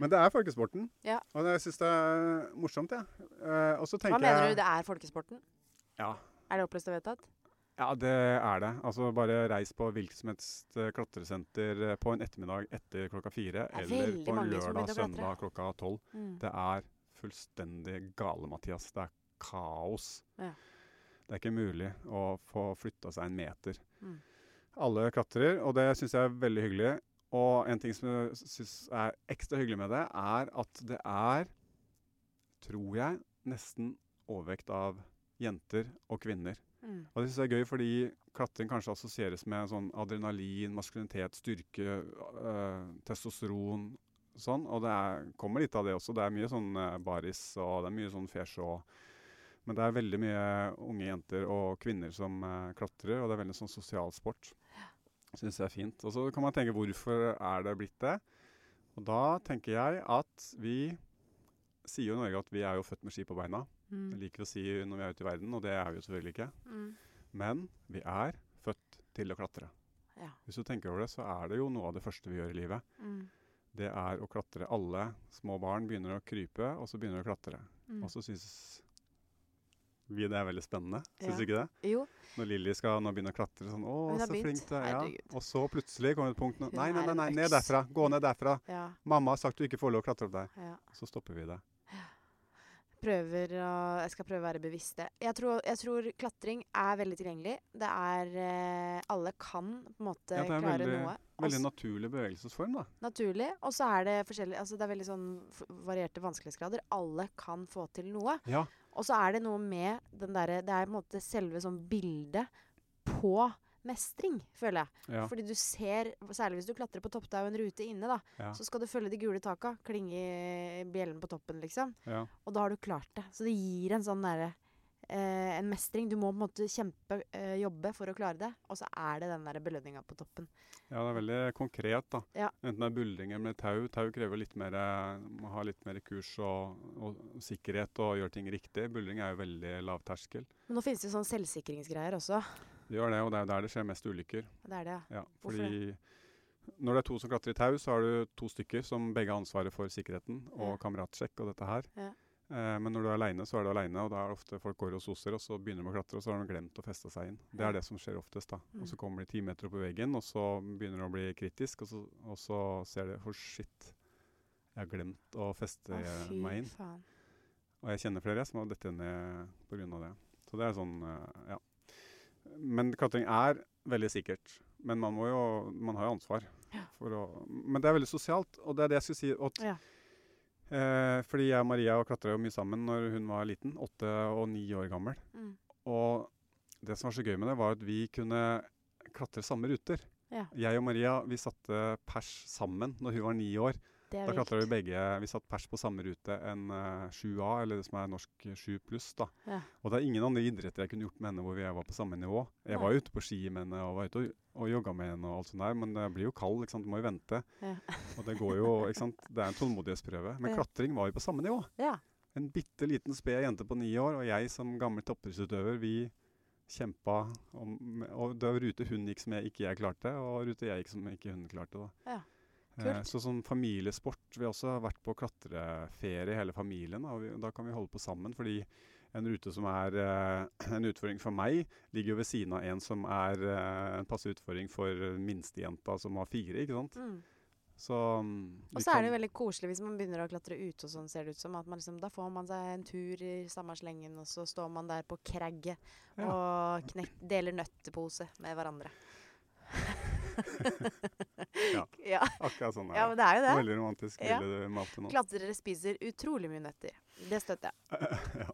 Men det er folkesporten, Ja. og det- jeg syns det er morsomt, jeg. Eh, og så Hva tenker mener du jeg det er folkesporten? Ja. Er det oppløst og vedtatt? Ja, det er det. Altså Bare reis på hvilket som helst eh, klatresenter eh, på en ettermiddag etter klokka fire, Det er eller veldig på en mange som lørdag, begynte å klatre. søndag klokka tolv. Mm. Det er fullstendig gale, Mathias. Det er kaos. Ja. Det er ikke mulig å få flytta seg en meter. Mm. Alle klatrer, og det syns jeg er veldig hyggelig. Og en ting som jeg syns er ekstra hyggelig med det, er at det er, tror jeg, nesten overvekt av jenter og kvinner. Mm. Og det synes jeg er gøy, fordi klatring kanskje assosieres med sånn adrenalin, maskulinitet, styrke, øh, testosteron, sånn. Og det er, kommer litt av det også. Det er mye sånn øh, baris, og det er mye sånn fesj og Men det er veldig mye unge jenter og kvinner som øh, klatrer, og det er veldig sånn sosial sport. Syns jeg er fint. Og så kan man tenke hvorfor er det blitt det? Og da tenker jeg at vi sier jo i Norge at vi er jo født med ski på beina. Mm. Det liker vi å si når vi er ute i verden, og det er vi jo selvfølgelig ikke. Mm. Men vi er født til å klatre. Ja. Hvis du tenker over det, så er det jo noe av det første vi gjør i livet. Mm. Det er å klatre. Alle små barn begynner å krype, og så begynner de å klatre. Mm. Og så syns vi det er veldig spennende, Ja. syns du ikke det? Jo. Når Lilly skal nå begynne å klatre sånn Å, Hun har så flink begynt. du er. Ja. Herregud. Og så plutselig kommer det et punkt nå Hun Nei, nei, er nei, en nei, ned øks. derfra. Gå ned derfra. Ja. Mamma har sagt du ikke får lov å klatre opp der. ja. Så stopper vi det. Prøver å Jeg skal prøve å være bevisst det. Jeg tror, jeg tror klatring er veldig tilgjengelig. Det er eh, Alle kan på en måte Ja, det er klare veldig- noe. Veldig Også- naturlig bevegelsesform, da. naturlig. Og så er det forskjellig Altså det er veldig sånn f- varierte vanskelighetsgrader. Alle kan få til noe. Ja. Og så er det noe med den derre Det er på en måte selve sånn bildet på mestring, føler jeg. ja. Fordi du ser, særlig hvis du klatrer på toppet av en rute inne, da, Ja. så skal du følge de gule taka, klinge i bjellen på toppen, liksom. ja. Og da har du klart det. Så det gir en sånn derre eh, en mestring. Du må på en måte kjempe, eh, jobbe for å klare det. Og så er det den der belønninga på toppen. Ja, det er veldig konkret, da. Ja. Enten det er buldring eller tau. Tau krever litt mer, må ha litt mer kurs og, og sikkerhet og gjøre ting riktig. Buldring er jo veldig lav terskel. Men nå finnes det jo sånn selvsikringsgreier også. Det gjør det, og det er jo der det skjer mest ulykker. Det er det, ja. Ja, Hvorfor fordi når det er to som klatrer i tau, så har du to stykker som begge har ansvaret for sikkerheten og Ja. kameratsjekk og dette her. Ja. Eh, men når du er aleine, så er du aleine, og da er det ofte folk går og soser, og så begynner de å klatre, og så har de glemt å feste seg inn. Det Ja. er det som skjer oftest, da. Og Mm. så kommer de ti meter opp i veggen, og så begynner de å bli kritisk, og så, og så ser de for shit, jeg har glemt å feste Å, fy meg inn. faen. Og jeg kjenner flere som har dette ned pga. det. Så det er sånn, eh, ja. Men klatring er veldig sikkert. Men man, må jo, man har jo ansvar. Ja. For å, men det er veldig sosialt, og det er det jeg skulle si. At, Ja. eh, fordi jeg og Maria klatra jo mye sammen når hun var liten, åtte og ni år gammel. Mm. Og det som var så gøy med det, var at vi kunne klatre samme ruter. Ja. Jeg og Maria vi satte pers sammen når hun var ni år. Det er Da klatra vi vilt. begge Vi satt pers på samme rute enn eh, 7A, eller det som er norsk eh, 7 pluss. da. Ja. Og det er ingen andre idretter jeg kunne gjort med henne hvor vi var på samme nivå. Jeg Nei. var ute på ski med henne og var ute og, og jogga med henne, og alt sånt der, men det blir jo kald, ikke sant? du må jo vente. Ja. Og det går jo, ikke sant? Det er en tålmodighetsprøve. Men Ja. klatring var jo på samme nivå. Ja. En bitte liten sped jente på ni år, og jeg som gammel toppidrettsutøver, vi kjempa om Og det var rute hun gikk som jeg ikke jeg klarte, og rute jeg gikk som ikke hun klarte, da. Ja. Eh, Kult. Så som familiesport Vi har også vært på klatreferie hele familien. Da, og vi, da kan vi holde på sammen, fordi en rute som er eh, en utfordring for meg, ligger jo ved siden av en som er eh, en passe utfordring for minstejenta som har fire. ikke sant? Mm. Så mm, vi Og så er det kan- jo veldig koselig hvis man begynner å klatre ute og sånn, ser det ut som. At man liksom, da får man seg en tur i samme slengen, og så står man der på kragget Ja. og knek deler nøttepose med hverandre. Ja. ja. Akkurat sånn er ja, men det er jo det. Veldig romantisk Ja. bilde du malte nå. Klatrere spiser utrolig mye nøtter. Det støtter jeg. ja.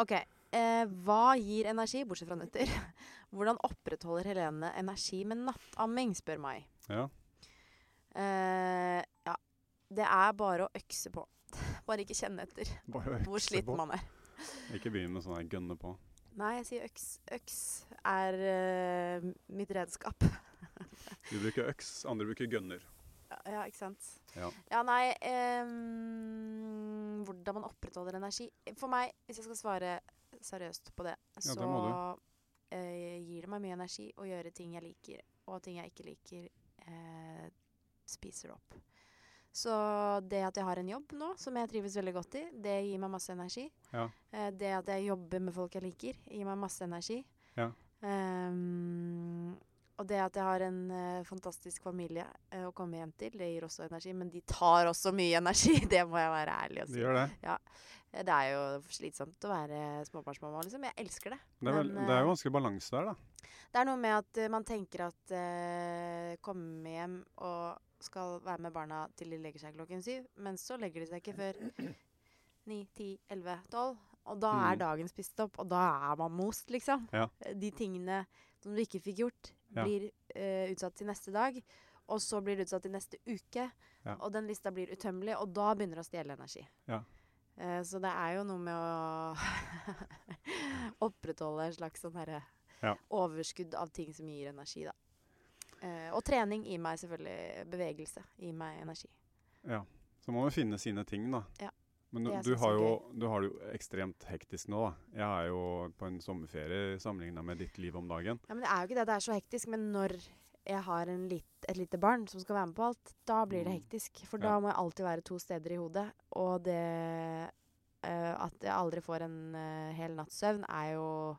OK. Eh, hva gir energi, bortsett fra nøtter? Hvordan opprettholder Helene energi med nattamming, spør meg. Ja. Eh, ja. Det er bare å økse på. Bare ikke kjenne etter. Bare hvor økse på. sliten man er. Ikke begynn med sånn her gønne på. Nei, jeg sier øks. Øks er eh, mitt redskap. Du bruker øks, andre bruker gønner. Ja, ikke sant. Ja. nei ehm, Hvordan man opprettholder energi. For meg, hvis jeg skal svare seriøst på det, Ja, så det må eh, gir det meg mye energi å gjøre ting jeg liker, og ting jeg ikke liker, eh, spiser det opp. Så det at jeg har en jobb nå som jeg trives veldig godt i, det gir meg masse energi. Ja. Eh, det at jeg jobber med folk jeg liker, gir meg masse energi. Ja. Ehm, og det at jeg har en eh, fantastisk familie eh, å komme hjem til, det gir også energi. Men de tar også mye energi, det må jeg være ærlig og De si. gjør det. Eh, Det er jo slitsomt å være småbarnsmamma, liksom. Jeg elsker det. Det er, vel, Men, det er eh, jo vanskelig balanse der, da. Det er noe med at eh, man tenker at eh, komme hjem og skal være med barna til de legger seg klokken syv, men så legger de seg ikke før ni, ti, elleve, tolv. Og da Mm. er dagen spist opp, og da er man most, liksom. Ja. Eh, De tingene som du ikke fikk gjort, Ja. blir eh, utsatt til neste dag. Og så blir det utsatt til neste uke, Ja. og den lista blir utømmelig, og da begynner det å stjele energi. Ja. Eh, så det er jo noe med å opprettholde en slags sånn herre Ja. overskudd av ting som gir energi, da. Eh, og trening gir meg selvfølgelig bevegelse. Gir meg energi. Ja. Så må man finne sine ting, da. Ja. Men du, Det er du, sånn som har jo, du har det jo ekstremt hektisk nå, da. Jeg er jo på en sommerferie sammenligna med ditt liv om dagen. Ja, men det er jo ikke det at det er så hektisk, men når jeg har en lit, et lite barn som skal være med på alt, da blir det Mm. hektisk. For Ja. da må jeg alltid være to steder i hodet. Og det eh, at jeg aldri får en eh, hel natts søvn, er jo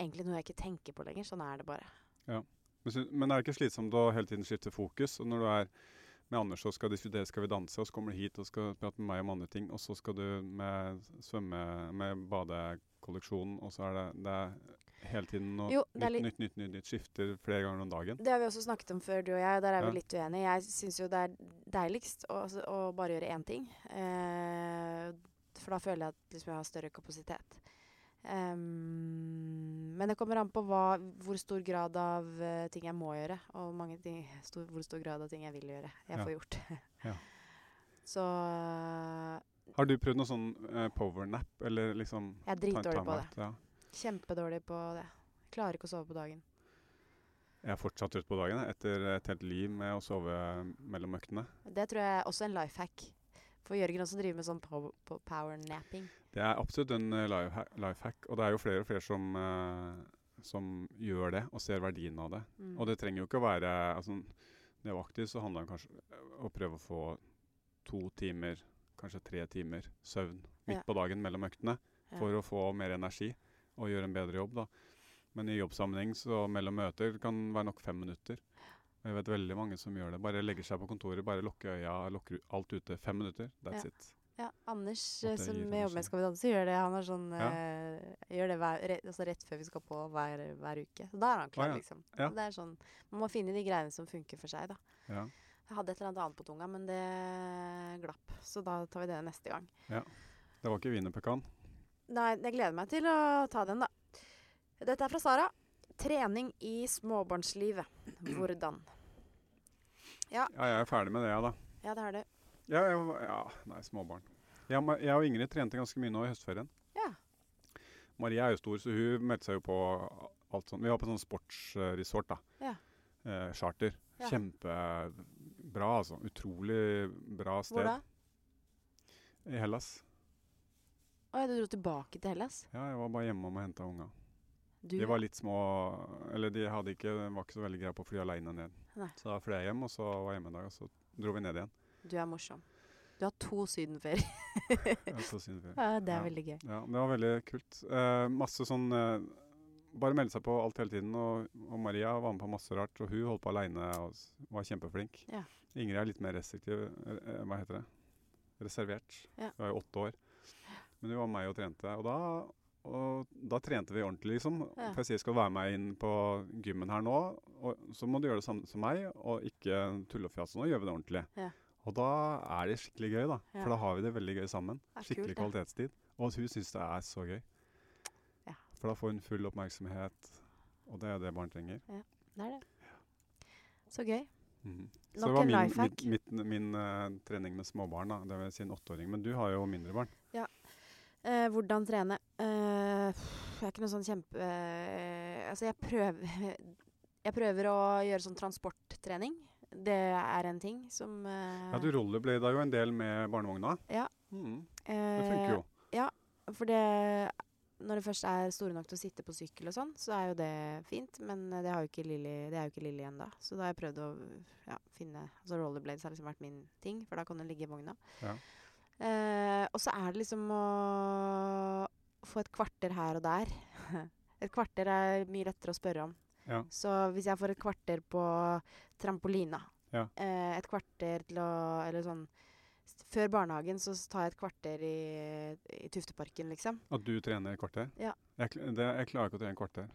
egentlig noe jeg ikke tenker på lenger. Sånn er det bare. Men, sy- men er det ikke slitsomt å hele tiden skifte fokus? Og når du er med Anders og skal diskutere 'Skal vi danse', og så kommer du hit og skal prate med meg om andre ting, og så skal du med svømme med badekolleksjonen, og så er det, det er hele tiden noe Jo, det er nytt, nytt, nytt, nytt, nytt. Skifter flere ganger om dagen. Det har vi også snakket om før, du og jeg, og der er vi Ja. litt uenige. Jeg syns jo det er deiligst å, altså, å bare gjøre én ting. Eh, for da føler jeg at liksom, jeg har større kapasitet. Ehm, men det kommer an på hva, hvor stor grad av eh, ting jeg må gjøre, og mange ting, stor, hvor stor grad av ting jeg vil gjøre, jeg Ja. får gjort. Ja. Så eh, Har du prøvd noe sånn eh, powernap, eller liksom Jeg er dritdårlig på det. det. Ja. Kjempedårlig på det. Klarer ikke å sove på dagen. Jeg er fortsatt ute på dagen jeg, etter et helt liv med å sove mellom øktene. Det tror jeg er også en life hack. For Jørgen også driver med sånn pow- po- powernapping. Det er absolutt en eh, life hack, og det er jo flere og flere som, eh, som gjør det og ser verdien av det. Mm. Og det trenger jo ikke å være altså, Når jeg var aktiv, så handla det kanskje om å prøve å få to timer, kanskje tre timer søvn midt Ja. på dagen mellom øktene Ja. for å få mer energi og gjøre en bedre jobb. da. Men i jobbsammenheng så mellom møter kan være nok fem minutter. Og Jeg vet veldig mange som gjør det. Bare legger seg på kontoret, bare lukker øya, lukker u- alt ute. Fem minutter, that's Ja. it. Ja, Anders At eh, det som gir jeg jobber energi. med Skal vi danse, gjør det. Han har sånn, Ja. eh, gjør det hver, re, altså rett før vi skal på hver, hver uke. Så da er han klar, ja. liksom. Ja. Så Det er sånn, Man må finne de greiene som funker for seg, da. Ja. Jeg hadde et eller annet annet på tunga, men det glapp. Så da tar vi det neste gang. Det var ikke wienerpekan. Nei, jeg gleder meg til å ta den, da. Dette er fra Sara. Trening i småbarnslivet. Hvordan? Ja, jeg er ferdig med det, jeg, da. Ja, det har du. Ja, jeg, var- ja nei, småbarn. Jeg, og Ma- jeg og Ingrid trente ganske mye nå i høstferien. Ja. Maria er jo stor, så hun meldte seg jo på alt sånt. Vi var på sånn sportsresort, da. Ja. Eh, charter. Ja. Kjempebra, altså. Utrolig bra sted. Hvor da? I Hellas. Å ja, du dro tilbake til Hellas? Ja, jeg var bare hjemme om å hente unga. Du? De var litt små Eller de hadde ikke, var ikke så veldig greie på å fly aleine ned. Nei. Så da fløy jeg hjem, og så var jeg hjemme en dag, og så dro vi ned igjen. Du er morsom. Du har to sydenferier. Det er så synd for- Ja, det er Ja. veldig gøy. Ja, det var veldig kult. Eh, masse sånn eh, Bare melde seg på alt hele tiden. Og, og Maria var med på masse rart, og hun holdt på aleine og s- var kjempeflink. Ja. Ingrid er litt mer restriktiv. eh, eh, Hva heter det? Reservert. Ja. Hun er jo åtte år. Men hun var med meg og trente. Og da, og da trente vi ordentlig, liksom. Ja. For jeg sier skal du være med inn på gymmen her nå, og, så må du gjøre det samme som meg, og ikke tulle og fjase nå. Gjør vi det ordentlig. Ja. Og da er det skikkelig gøy, da. Ja. For da har vi det veldig gøy sammen. Det er Skikkelig kult, ja. kvalitetstid. Og hun syns det er så gøy. Ja. For da får hun full oppmerksomhet, og det er det barn trenger. Det er det. Så gøy. Mhm. Nok Så det var en min, life hack. mitt- mitt- min eh, trening med småbarn, da. Det vil si en åtteåring. Men du har jo mindre barn. Eh, hvordan trene? Eh, jeg er ikke noe sånn kjempe... eh, altså, jeg prøver, jeg prøver å gjøre sånn transporttrening. Det er en ting som eh, Ja, Du rollerblada jo en del med barnevogna. Ja. Mhm. Det funker jo. Eh, For det Når det først er store nok til å sitte på sykkel og sånn, så er jo det fint. Men eh, det, har jo ikke Lilly, det er jo ikke Lilly ennå. Så da har jeg prøvd å ja, finne Altså rollerblades har liksom vært min ting, for da kan hun ligge i vogna. Ja. Eh, og så er det liksom å få et kvarter her og der. Et kvarter er mye lettere å spørre om. Ja. Så hvis jeg får et kvarter på trampolina, Ja. eh, et kvarter til å Eller sånn s- Før barnehagen så s- tar jeg et kvarter i, i Tufteparken, liksom. At du trener et kvarter? Ja. Jeg, kl- det, jeg klarer ikke å trene et kvarter.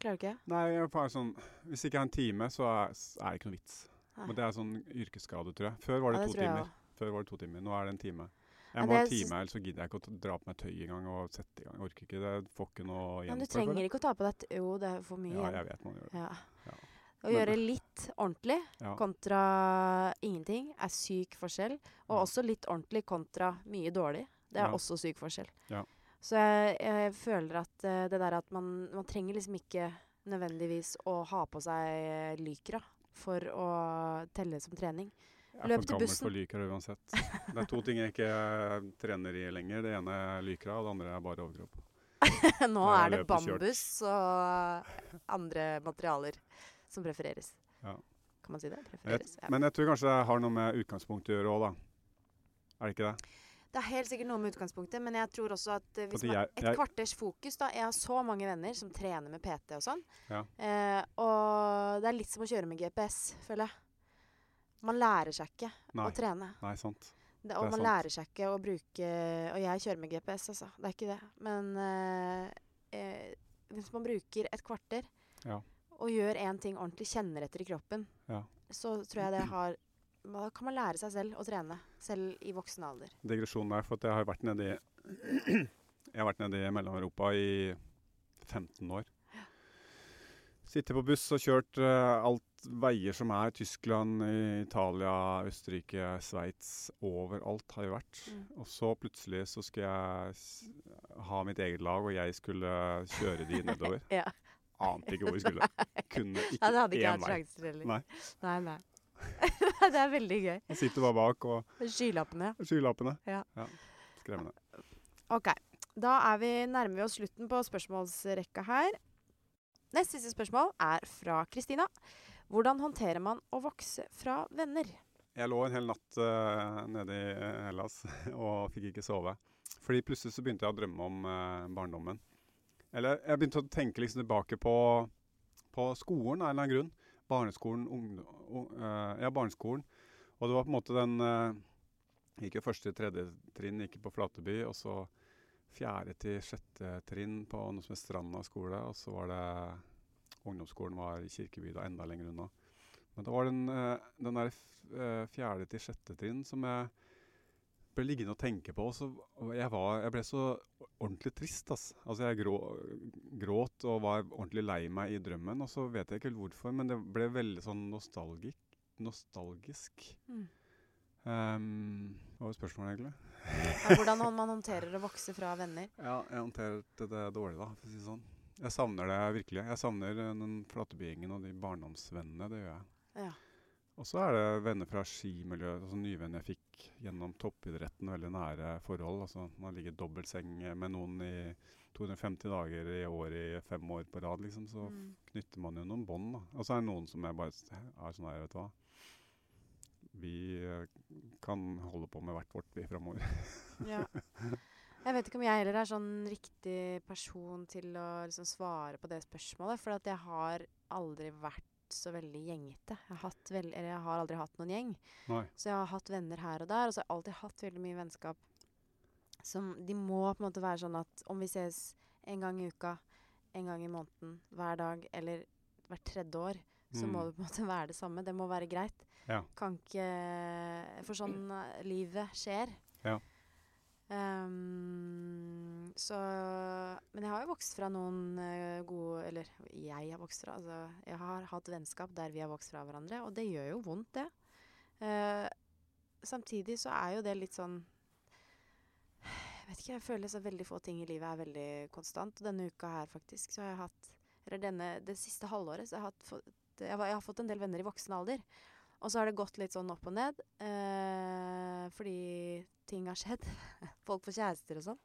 Klarer du ikke? Nei, jeg er bare sånn, Hvis ikke jeg har en time, så er, s- er det ikke noe vits. Nei. Men det er sånn yrkesskade, tror jeg. Før var det, Ja, to tror jeg timer. også. Før var det to timer. Nå er det en time. Ja, Jeg må ha det en syns- time, ellers så gidder jeg ikke å t- dra på meg tøy engang og sette i gang. Jeg orker ikke det. Får ikke noe igjen Men du for det, trenger føler jeg. ikke å ta på deg et- Jo, det er for mye Ja, igjen. jeg vet man gjør det. Ja. Ja. Å Men- gjøre litt ordentlig Ja. kontra ingenting er syk forskjell. Og Ja. også litt ordentlig kontra mye dårlig. Det er Ja. også syk forskjell. Ja. Så jeg, jeg føler at eh, det der at man, man trenger liksom ikke nødvendigvis å ha på seg eh, lykra for å telle som trening. Jeg er Løp for til gammel bussen. for lyker uansett. Det er to ting jeg ikke eh, trener i lenger. Det ene er lykra, og det andre er bare overkropp. Nå Nei, er det jeg løper kjørt. bambus og andre materialer som prefereres. Ja. Kan man si det? Jeg, Prefereres. Ja. men jeg tror kanskje det har noe med utgangspunktet å gjøre òg, da. Er det ikke det? Det er helt sikkert noe med utgangspunktet, men jeg tror også at eh, hvis Fordi man, jeg- et jeg- kvarters fokus da, Jeg har så mange venner som trener med PT og sånn. Ja. Eh, og det er litt som å kjøre med GPS, føler jeg. Man lærer seg ikke Nei. å trene. Nei, sant. Det, og Det er man sant. lærer seg ikke å bruke Og jeg kjører med GPS, altså. Det er ikke det. Men eh, eh, hvis man bruker et kvarter Ja. og gjør én ting ordentlig, kjenner etter i kroppen, Ja. så tror jeg det har Da kan man lære seg selv å trene. Selv i voksen alder. digresjon der, for at jeg har vært nede i Jeg har vært nede i Mellom-Europa i 15 år. Sittet på buss og kjørt eh, alt veier som er Tyskland, i Italia, Østerrike, Sveits. Overalt har jeg vært. Og så plutselig så skal jeg s ha mitt eget lag, og jeg skulle kjøre de nedover. Ja. Ante ikke hvor jeg skulle. Kunne Ja, det ikke hadde ikke jeg én hatt vei. sjanser heller. Nei. Nei, nei. Nei, det er veldig gøy. Jeg sitter bare bak og Skylappene. skylappene. Ja. Skremmende. Ok, da er vi nærmer vi oss slutten på spørsmålsrekka her. Neste siste spørsmål er fra Kristina. Hvordan håndterer man å vokse fra venner? Jeg lå en hel natt eh, nede i eh, Hellas og fikk ikke sove. Fordi plutselig så begynte jeg å drømme om eh, barndommen. Eller jeg begynte å tenke liksom tilbake på, på skolen av en eller annen grunn. Barneskolen, ungdom, ja, barneskolen. Og det var på en måte den eh, Gikk jo første til tredje trinn gikk på Flateby, og så fjerde til sjette trinn på noe som het Stranda skole. Og så var det Ungdomsskolen var i Kirkeby, da enda lenger unna. Men det var den, eh, den der f- eh, fjerde til sjette trinn som jeg ble liggende og tenke på. Og så og jeg, var, jeg ble så ordentlig trist. Ass. Altså jeg grå, gråt og var ordentlig lei meg i drømmen. Og så vet jeg ikke helt hvorfor, men det ble veldig sånn nostalgisk. nostalgisk. Mm. Ehm, hva var spørsmålet, egentlig? Ja, hvordan hå- man håndterer å vokse fra venner? Ja, jeg håndterte det dårlig, da, for å si det sånn. Jeg savner det virkelig. Jeg savner eh, den flatebygjengen og de barndomsvennene. Det gjør jeg. Ja. Og så er det venner fra skimiljøet. Altså nye venner jeg fikk gjennom toppidretten. Veldig nære forhold. Altså, man ligger i dobbeltseng med noen i 250 dager i året i fem år på rad, liksom. Så Mm. knytter man jo noen bånd, da. Og så er det noen som jeg bare s- er sånn her, vet du hva. Vi eh, kan holde på med hvert vårt, vi, framover. Ja. Jeg vet ikke om jeg heller er sånn riktig person til å liksom svare på det spørsmålet. For at jeg har aldri vært så veldig gjengete. Jeg har, hatt vel- eller jeg har aldri hatt noen gjeng. Nei. Så jeg har hatt venner her og der, og så har jeg alltid hatt veldig mye vennskap. Som, de må på en måte være sånn at om vi ses en gang i uka, en gang i måneden, hver dag eller hvert tredje år, så må Mm. det på en måte være det samme. Det må være greit. Ja. Mm. Kan ikke For sånn eh, livet skjer. Ja. Ehm, så Men jeg har jo vokst fra noen eh, gode Eller jeg har vokst fra altså, Jeg har hatt vennskap der vi har vokst fra hverandre, og det gjør jo vondt, det. Eh, samtidig så er jo det litt sånn Jeg vet ikke, jeg føler så veldig få ting i livet er veldig konstant. Og denne uka her faktisk, så har jeg hatt Eller denne, det siste halvåret, så har jeg hatt fått jeg, var- jeg har fått en del venner i voksen alder. Og så har det gått litt sånn opp og ned. eh, fordi ting har skjedd. Folk får kjærester og sånn.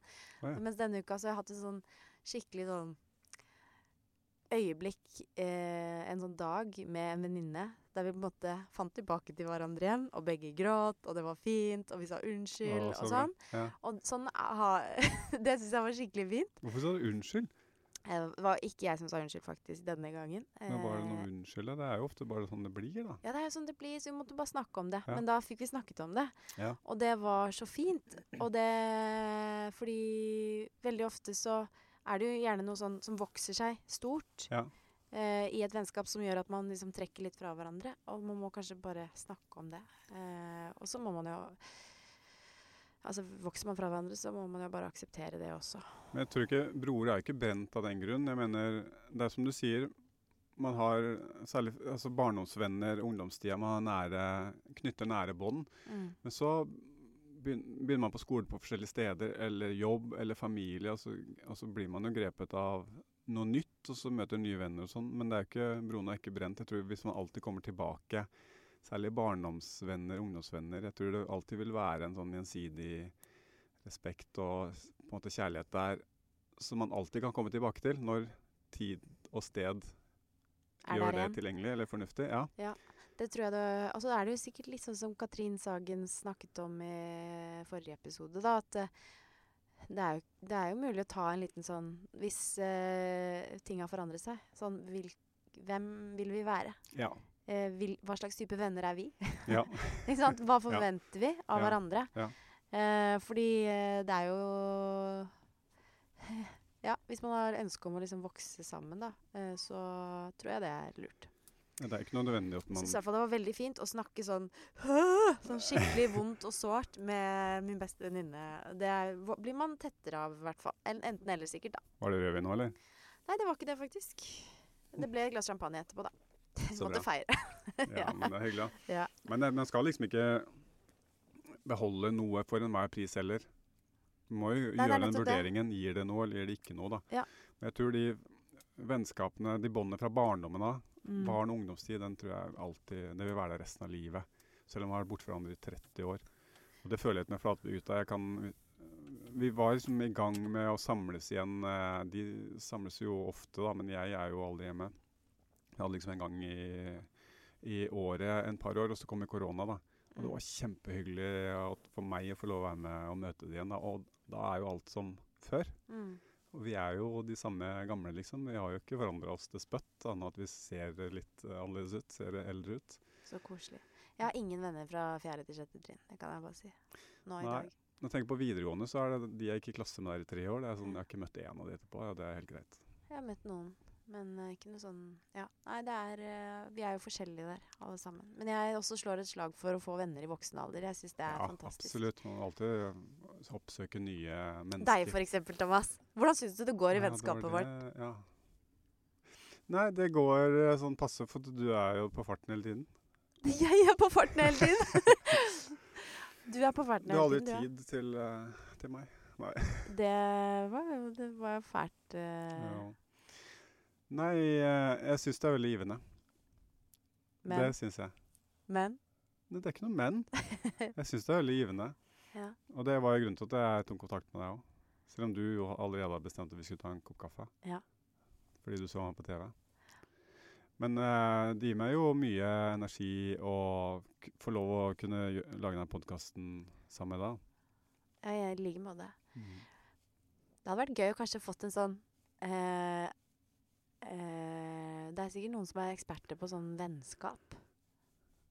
Å ja. Mens denne uka så har jeg hatt en sånn skikkelig sånn øyeblikk, eh, en sånn dag med en venninne, der vi på en måte fant tilbake til hverandre igjen, og begge gråt, og det var fint, og vi sa unnskyld, Å, så og bra. sånn. Ja. Og sånn ha, Det syns jeg var skikkelig fint. Hvorfor sa du unnskyld? Eh, Det var ikke jeg som sa unnskyld, faktisk, denne gangen. Det er bare Eh, noe unnskyld. Det er jo ofte bare sånn det blir, da. Ja, det er jo sånn det blir, så vi måtte bare snakke om det. Ja. Men da fikk vi snakket om det. Ja. Og det var så fint. Og det Fordi veldig ofte så er det jo gjerne noe sånn som vokser seg stort Ja. eh, i et vennskap som gjør at man liksom trekker litt fra hverandre. Og man må kanskje bare snakke om det. Eh, og så må man jo Altså vokser man fra hverandre, så må man jo bare akseptere det også. Men jeg tror ikke broer er jo ikke brent av den grunn. Jeg mener, det er som du sier, man har særlig altså barndomsvenner, ungdomstida, man har nære, knytter nære bånd. Mm. Men så begyn- begynner man på skole på forskjellige steder, eller jobb, eller familie, og så, og så blir man jo grepet av noe nytt, og så møter nye venner og sånn. Men det er jo ikke, broene er ikke brent. Jeg tror hvis man alltid kommer tilbake, særlig barndomsvenner, ungdomsvenner, jeg tror det alltid vil være en sånn gjensidig respekt og s- på en måte kjærlighet der, som man alltid kan komme tilbake til når tid og sted Er der gjør det igjen. tilgjengelig eller fornuftig. Ja. Det tror jeg det Og så er det jo sikkert litt sånn som Katrin Sagen snakket om i forrige episode, da. At eh, det er jo, det er jo mulig å ta en liten sånn Hvis eh, ting har forandret seg. Sånn vil, Hvem vil vi være? Ja. Eh, vil, hva slags type venner er vi? ja. Ikke sant? Hva forventer vi av Ja. hverandre? Ja. Eh, fordi eh, det er jo Ja, hvis man har ønske om å liksom vokse sammen, da, eh, så tror jeg det er lurt. Det er ikke noe nødvendig at Jeg man syns i hvert fall det var veldig fint å snakke sånn «Hø!» Sånn skikkelig vondt og sårt med min beste venninne. Det er, hva- blir man tettere av, i hvert fall. En- Enten eller, sikkert, da. Var det rødvin nå, eller? Nei, det var ikke det, faktisk. Det ble et glass champagne etterpå, da. Så Måtte feire. Ja, men det er hyggelig. da. Ja. Men det- man skal liksom ikke beholde noe for enhver pris heller. Man må Nei, jo det er gjøre den nettopp det. vurderingen. Gir det noe, eller gir det ikke noe? da. Ja. Men jeg tror de vennskapene, de båndene fra barndommen av, Mm. barn- og ungdomstid, den tror jeg alltid Det vil være der resten av livet. Selv om vi har vært borte fra hverandre i 30 år. Og det føler jeg litt med Flatbygutta. Jeg kan vi var liksom i gang med å samles igjen. eh, De samles jo ofte, da, men jeg er jo aldri hjemme. Jeg hadde liksom en gang i i året en par år, og så kom jo korona, da. Og Mm. det var kjempehyggelig at for meg å få lov å være med og møte det igjen. Da. Og da er jo alt som før. Mm. Og vi er jo de samme gamle, liksom. Vi har jo ikke forandra oss til spøtt, annet at vi ser litt eh, annerledes ut, ser eldre ut. Så koselig. Jeg har ingen venner fra fjerde til sjette trinn, det kan jeg bare si. Nå i Nei. dag. Når jeg tenker på videregående, så er det de jeg gikk i klasse med der i tre år. Det er sånn, Jeg har ikke møtt én av de etterpå, ja, det er helt greit. Jeg har møtt noen, men eh, ikke noe sånn Ja. Nei, det er eh, Vi er jo forskjellige der, alle sammen. Men jeg også slår et slag for å få venner i voksen alder. Jeg syns det er ja, fantastisk. absolutt. Man må alltid oppsøke nye mennesker. Deg for eksempel, Thomas. Hvordan syns du det går i Ja, det var vennskapet vårt? det- Ja. Nei, det går eh, sånn passe, for du er jo på farten hele tiden. Jeg er på farten hele tiden! du er på farten Du har hele aldri tiden, du òg. tid til, eh, til meg. Det var jo det var jo fælt. eh, Ja. Nei, eh, jeg syns det er veldig givende. men, Det syns jeg. men Nei, Det er ikke noe men. Jeg syns det er veldig givende. Ja. Og det var jo grunnen til at jeg tok kontakt med deg òg. Selv om du jo allerede har bestemt at vi skulle ta en kopp kaffe. Ja. Fordi du så meg på TV. Men eh, det gir meg jo mye energi å k- få lov å kunne gjø- lage denne podkasten sammen med deg. ja, jeg er i like måte. Det hadde vært gøy å kanskje fått en sånn eh, eh, Det er sikkert noen som er eksperter på sånn vennskap.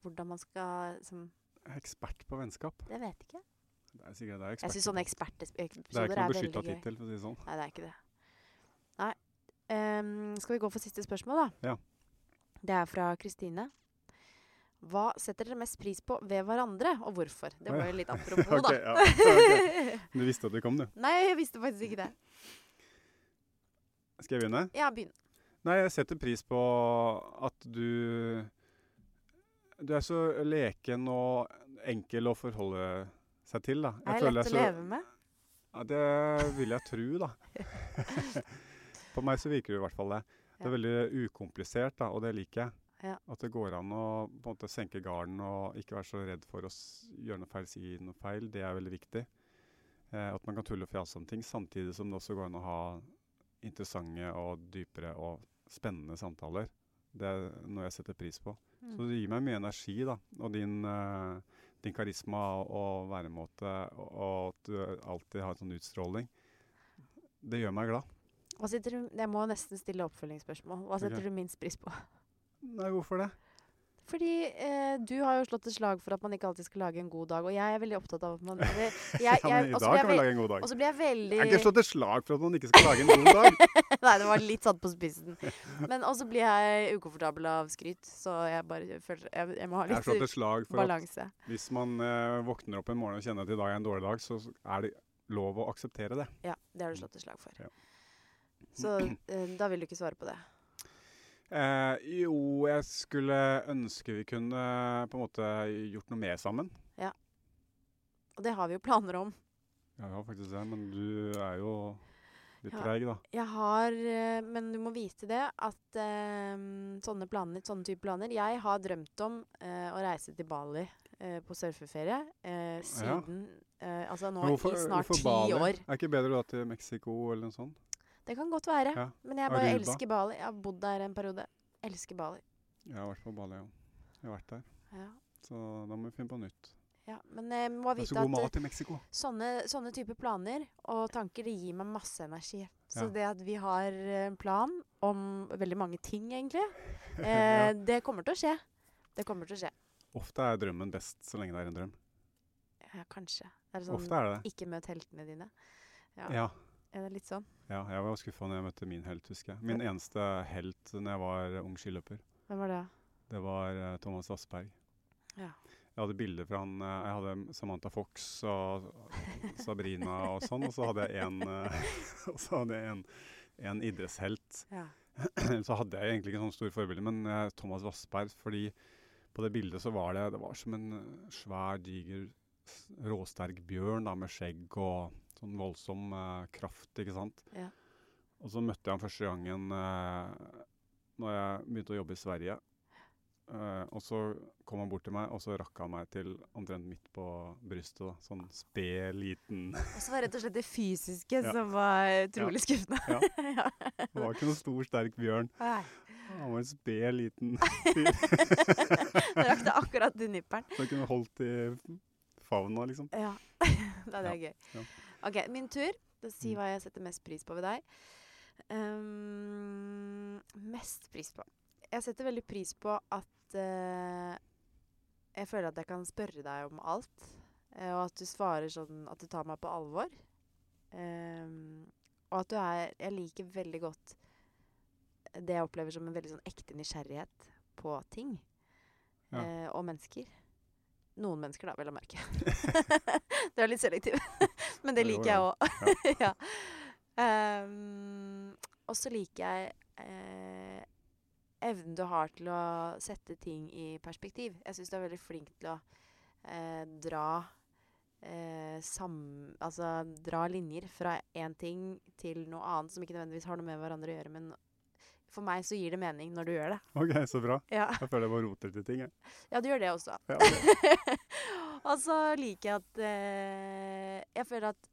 Hvordan man skal som, Jeg er ekspert på vennskap. Det vet ikke. Det er sikkert det er Jeg syns eksperter sånne på. Det er ekspertepisoder ikke er, noe veldig beskytta gøy. tittel, for å si det sånn. Nei, det er ikke det. Nei. Ehm, skal vi gå for siste spørsmål, da? Ja. Det er fra Kristine. Hva setter dere mest pris på ved hverandre, og hvorfor? Det Å, ja. var jo litt apropos, Ok, da. ja, ok. Du visste at du kom, du. Nei, jeg visste faktisk ikke det. Skal jeg begynne? Ja, begynn. Nei, jeg setter pris på at du Du er så leken og enkel å forholde seg til, da. Er jeg føler lett å så- leve med? Ja, det vil jeg tro, da. På meg så virker det i hvert fall det. Det er veldig ukomplisert, da, og det liker jeg. Ja. At det går an å på en måte senke garden og ikke være så redd for å s- gjøre noe feil, si noe feil. Det er veldig viktig. Eh, at man kan tulle og fjase om ting, samtidig som det også går an å ha interessante og dypere og spennende samtaler. Det er noe jeg setter pris på. Mm. Så det gir meg mye energi, da. Og din, eh, din karisma og, og væremåte, og, og at du alltid har en sånn utstråling. Det gjør meg glad. Hva setter du, jeg må nesten stille oppfølgingsspørsmål. Hva setter Ok. du minst pris på? Nei, hvorfor det? Fordi eh, du har jo slått et slag for at man ikke alltid skal lage en god dag, og jeg er veldig opptatt av at man det- jeg, ja, men jeg, altså, og I så dag blir kan vi jeg, lage en god ve- og dag. så blir jeg veldig Jeg har ikke slått et slag for at man ikke skal lage en god dag. Nei, det var litt satt på spissen. Men også blir jeg ukomfortabel av skryt, så jeg bare føler Jeg, jeg må ha Jeg har slått et litt slag for at balanse. hvis man eh, våkner opp en morgen og kjenner at i dag er en dårlig dag, så så er det lov å akseptere det. Ja, det har du slått et slag for. Ja. Så eh, da vil du ikke svare på det. Eh, jo, jeg skulle ønske vi kunne eh, på en måte gjort noe mer sammen. Og det har vi jo planer om. Ja, vi har faktisk det, men du er jo litt Ja. treig, da. Jeg har eh, Men du må vite det at eh, sånne planer, sånne type planer Jeg har drømt om eh, å reise til Bali eh, på surfeferie eh, siden eh, Altså nå Men hvorfor- i snart hvorfor ti Bali? år. Er ikke bedre da til Mexico eller noe sånt? Det kan godt være. Ja. Men jeg Aruba. bare elsker Bali. Jeg har bodd der en periode. Elsker Bali. Jeg har vært på Bali, ja. Jeg har vært der. Ja. Så da må vi finne på nytt. ja. Men jeg må Det er vite så at god eh, mat i Mexico. sånne, sånne typer planer og tanker, det gir meg masse energi. Så det at vi har eh, en plan om veldig mange ting, egentlig, eh, Ja. det kommer til å skje. Det kommer til å skje. Ofte er drømmen best så lenge det er en drøm. Ja, kanskje. Det er sånn Ofte er det det. ikke møt heltene dine. Ja. Ja. Er det litt sånn? ja. Jeg var skuffa når jeg møtte min helt, husker jeg. Min eneste helt når jeg var ung skiløper, Hvem var det? det var eh, Thomas Vassberg. Ja. Jeg hadde bilder fra han eh, Jeg hadde Samantha Fox og Sabrina og sånn, og så hadde jeg en, eh, og så hadde jeg en, en idrettshelt. Ja. så hadde jeg egentlig ikke sånne store forbilder, men eh, Thomas Vassberg fordi på det bildet så var det det var som en eh, svær, diger, s- råsterk bjørn da, med skjegg og sånn voldsom eh, kraft, ikke sant? Ja. Og så møtte jeg ham første gangen eh, når jeg begynte å jobbe i Sverige. Eh, og så kom han bort til meg, og så rakk han meg til omtrent midt på brystet. Da. Sånn sped, liten Og så var det rett og slett det fysiske Ja. som var utrolig skuffende. Ja. Ja. Han var ikke noen stor, sterk bjørn. Nei. Han var en sped, liten Det rakk det akkurat til nipperen. som kunne holdt i favna, liksom. Ja. Da er det gøy. ja. OK, min tur. Da Si Mm. hva jeg setter mest pris på ved deg. Ehm, mest pris på Jeg setter veldig pris på at eh, jeg føler at jeg kan spørre deg om alt. eh, Og at du svarer sånn at du tar meg på alvor. Ehm, og at du er Jeg liker veldig godt det jeg opplever som en veldig sånn ekte nysgjerrighet på ting. Ja. eh, og mennesker. Noen mennesker, da, vel å merke. du er litt selektiv. Men det Jo, liker jeg ja. òg. ja. Ehm, og så liker jeg eh, evnen du har til å sette ting i perspektiv. Jeg syns du er veldig flink til å eh, dra eh, sam, altså, dra linjer fra én ting til noe annet som ikke nødvendigvis har noe med hverandre å gjøre, men for meg så gir det mening når du gjør det. OK, så bra. Ja, Jeg føler jeg bare roter til ting, jeg. ja du gjør det også. Ja, det- og så liker jeg at eh, Jeg føler at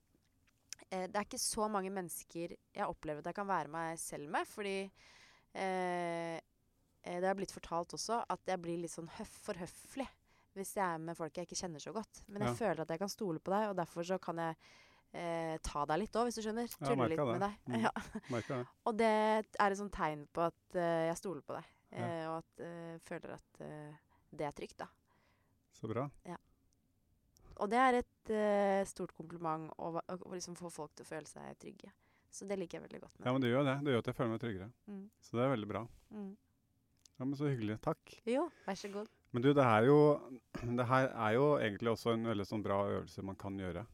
eh, det er ikke så mange mennesker jeg opplever at jeg kan være meg selv med, fordi eh, eh, Det har blitt fortalt også at jeg blir litt sånn høff for høflig hvis jeg er med folk jeg ikke kjenner så godt. Men jeg Ja. føler at jeg kan stole på deg, og derfor så kan jeg eh, ta deg litt òg, hvis du skjønner. Ja, Tulle merket litt med deg. det. Mm. Ja. Merker det. Og det er et sånt tegn på at eh, jeg stoler på deg, Ja. eh, og at eh, føler at eh, det er trygt, da. Så bra. Og det er et eh, stort kompliment å, va- å, å liksom få folk til å føle seg trygge. Så det liker jeg veldig godt med. Ja, men det gjør det. Det gjør at jeg føler meg tryggere. Mm. Så det er veldig bra. Mm. Ja, men Så hyggelig. Takk. Jo, vær så god. Men du, det her, er jo, det her er jo egentlig også en veldig sånn bra øvelse man kan gjøre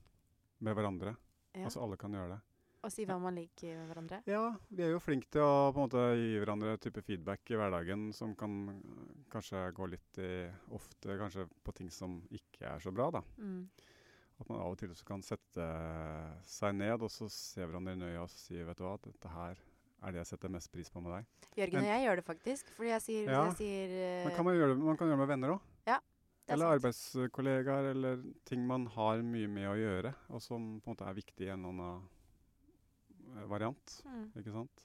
med hverandre. Ja. Altså alle kan gjøre det. Og si hva man liker med hverandre. Ja, vi er jo flinke til å på en måte gi hverandre type feedback i hverdagen som kan øh, kanskje gå litt i ofte kanskje på ting som ikke er så bra, da. Mm. At man av og til også kan sette eh, seg ned og så se hverandre i øya og så si vet du hva, dette her er det jeg setter mest pris på med deg. Jørgen Men- og jeg gjør det faktisk. Fordi jeg sier, Ja. hvis jeg sier eh, Men kan man gjøre det, man kan gjøre det med venner òg. det er Eller sant. arbeidskollegaer, eller ting man har mye med å gjøre, og som på en måte er viktig i en eller annen eh, variant. Mm. Ikke sant?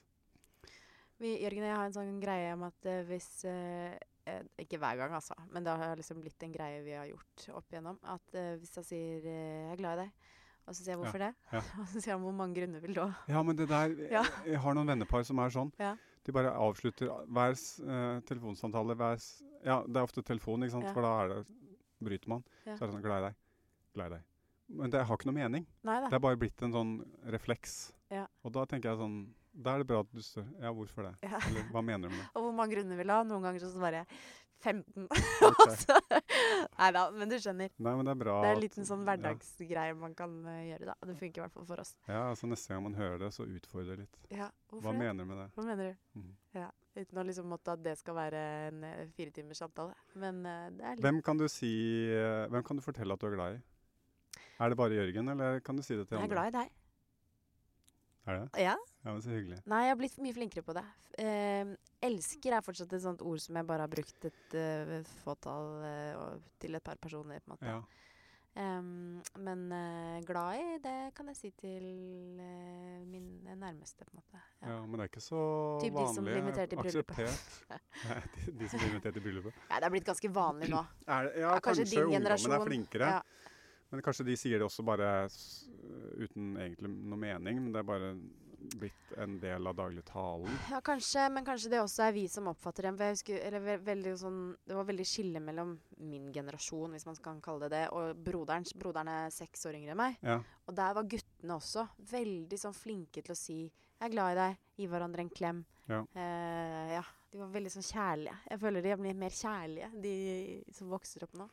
Vi, Jørgen og jeg har en sånn greie om at eh, hvis eh, eh, Ikke hver gang, altså, men det har liksom blitt en greie vi har gjort opp igjennom. At eh, hvis jeg sier eh, 'jeg er glad i deg', og så sier jeg 'hvorfor det', ja. og så sier han 'hvor mange grunner vil du ha'? Ja, men det der eh, Ja. Jeg har noen vennepar som er sånn. Ja. De bare avslutter a- hver s- eh, telefonsamtale hver s- Ja, det er ofte telefon, ikke sant? Ja. for da er det, bryter man. Ja. Så er det sånn Glad i deg. Glad i deg. Men det har ikke noe mening. Nei da. Det er bare blitt en sånn refleks. Ja. Og da tenker jeg sånn Da er det bra at du stør. Ja, hvorfor det? Ja. Eller hva mener du med det? Og hvor mange grunner vil du ha? Noen ganger så svarer jeg 15. Ok. Altså, Nei da, men du skjønner. Nei, men det er bra Det er at- en liten sånn ja. hverdagsgreie man kan eh, gjøre, da. Det funker i hvert fall for oss. Ja, altså Neste gang man hører det, så utfordre litt. Ja, Hva hvorfor det? mener du med det? Hva mener du? Mhm. Ja, Uten å liksom måtte at det skal være en eh, fire timers samtale. Men eh, det er litt Hvem kan du si eh, Hvem kan du fortelle at du er glad i? Er det bare Jørgen, eller kan du si det til Jeg er andre? glad i deg. Er det? Ja. Ja, men Så hyggelig. Nei, jeg har blitt mye flinkere på det. F- Eh, elsker er fortsatt et sånt ord som jeg bare har brukt et eh, fåtall eh, og- til et par personer, på en måte. Ja. Em, men eh, glad i, det kan jeg si til eh, mine nærmeste, på en måte. Ja. ja, Men det er ikke så Typ de som vanlig. blir invitert i bryllupet. Akseptert. Nei, de, de som blir invitert i bryllupet. Ja, det er blitt ganske vanlig nå. Er det, ja, Ja, kanskje kanskje, din ungdommen generasjon. er flinkere. Ja. Men kanskje de sier det også bare s- eh, uten egentlig noe mening, men det er bare blitt en del av dagligtalen. Ja, kanskje, men kanskje det også er vi som oppfatter dem. For jeg husker, eller ve veldig sånn, Det var veldig skille mellom min generasjon, hvis man kan kalle det det, og broderens. Broderen er seks år yngre enn meg. Ja. Og der var guttene også veldig sånn flinke til å si 'jeg er glad i deg', gi hverandre en klem. Ja. Eh, ja. De var veldig sånn kjærlige. Jeg føler de har blitt mer kjærlige, de som vokser opp nå.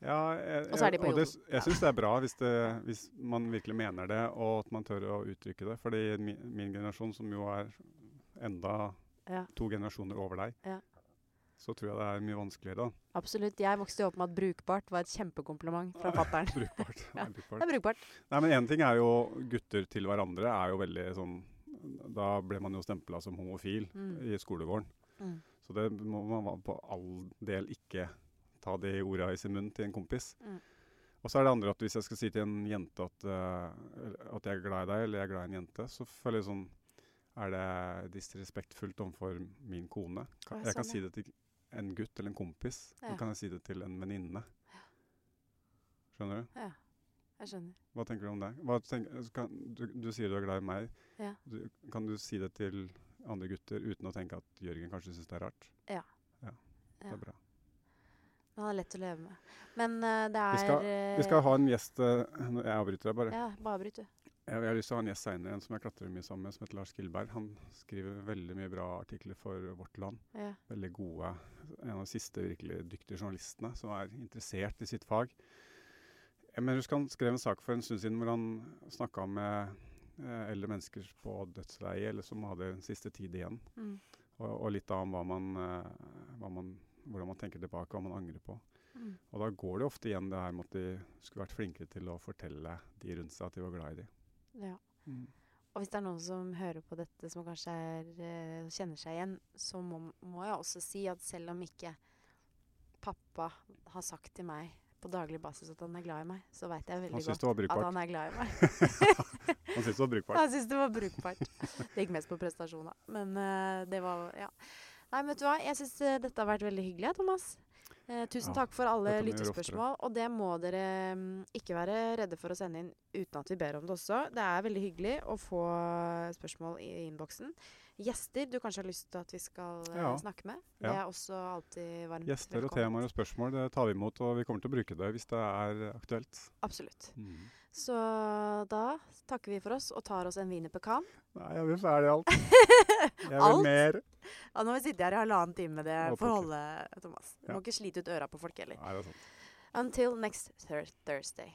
Ja, jeg, Og så er jeg- de på det, jobb. jeg syns det er bra hvis, det, hvis man virkelig mener det, og at man tør å uttrykke det. Fordi min, min generasjon, som jo er enda Ja. to generasjoner over deg, Ja. så tror jeg det er mye vanskeligere. da. Absolutt. Jeg vokste jo opp med at brukbart var et kjempekompliment fra fatter'n. Brukbart. Ja. Nei, brukbart. Det er brukbart. Nei, men Én ting er jo gutter til hverandre er jo veldig sånn Da ble man jo stempla som homofil Mm. i skolegården. Mm. Så det må man va- på all del ikke ta de orda i sin munn til en kompis. Mm. Og så er det andre at hvis jeg skal si til en jente at, eh, at jeg er glad i deg, eller jeg er glad i en jente, så føler jeg sånn Er det disrespektfullt overfor min kone? Ka- Å, jeg kan sånn, si det til en gutt eller en kompis, Ja. men kan jeg si det til en venninne? Skjønner du? Ja. Jeg skjønner. Hva tenker du om det? Hva tenk, kan, du, du sier du er glad i meg. Ja. Du, kan du si det til andre gutter uten å tenke at Jørgen kanskje syns det er rart? Ja. ja. Det Ja. er bra. Men han er lett å leve med. Men eh, det er Vi skal- Vi skal ha en gjest eh, nå- Jeg avbryter deg bare. Ja, bare avbryt, du. Jeg, jeg har lyst til å ha en gjest seinere, en som jeg klatrer mye sammen med, som heter Lars Gilberg. Han skriver veldig mye bra artikler for Vårt Land. Ja. Veldig gode. En av de siste virkelig dyktige journalistene som er interessert i sitt fag. Jeg mener, husker han skrev en sak for en stund siden hvor han snakka med eh, eldre mennesker på dødsleiet, eller som hadde en siste tid igjen. Mm. Og, og litt da om hva man, eh, hva man, hvordan man tenker tilbake, hva man angrer på. Mm. Og da går det ofte igjen det her med at de skulle vært flinkere til å fortelle de rundt seg at de var glad i de. Ja. Og hvis det er noen som hører på dette som kanskje er, eh, kjenner seg igjen, så må, må jeg også si at selv om ikke pappa har sagt til meg på daglig basis at han er glad i meg, så veit jeg Han veldig godt syntes det var at brukbart. han er glad i meg. Han syntes det var brukbart. Jeg syns det var brukbart. Det gikk mest på prestasjon, da. Men eh, det var Ja. Nei, men vet du hva. Jeg syns dette har vært veldig hyggelig, Thomas. Eh, tusen Ja, takk for alle dette må vi gjøre lyttespørsmål. Og det må dere mm, ikke være redde for å sende inn uten at vi ber om det også. Det er veldig hyggelig å få spørsmål i innboksen. Gjester du kanskje har lyst til at vi skal eh, Ja. snakke med. Ja. Det er også alltid varmt Gjester og velkomment. temaer og spørsmål det tar vi imot, og vi kommer til å bruke det hvis det er aktuelt. Absolutt. Så da takker vi for oss og tar oss en wienerpekan. Nei, jeg vil ferdig alt. Jeg vil Alt? mer. Ja, nå har vi sittet her i halvannen time med det Håper ikke. forholdet, Thomas. Du Ja. må ikke slite ut øra på folk heller. Nei, det er sant. Until next thir Thursday.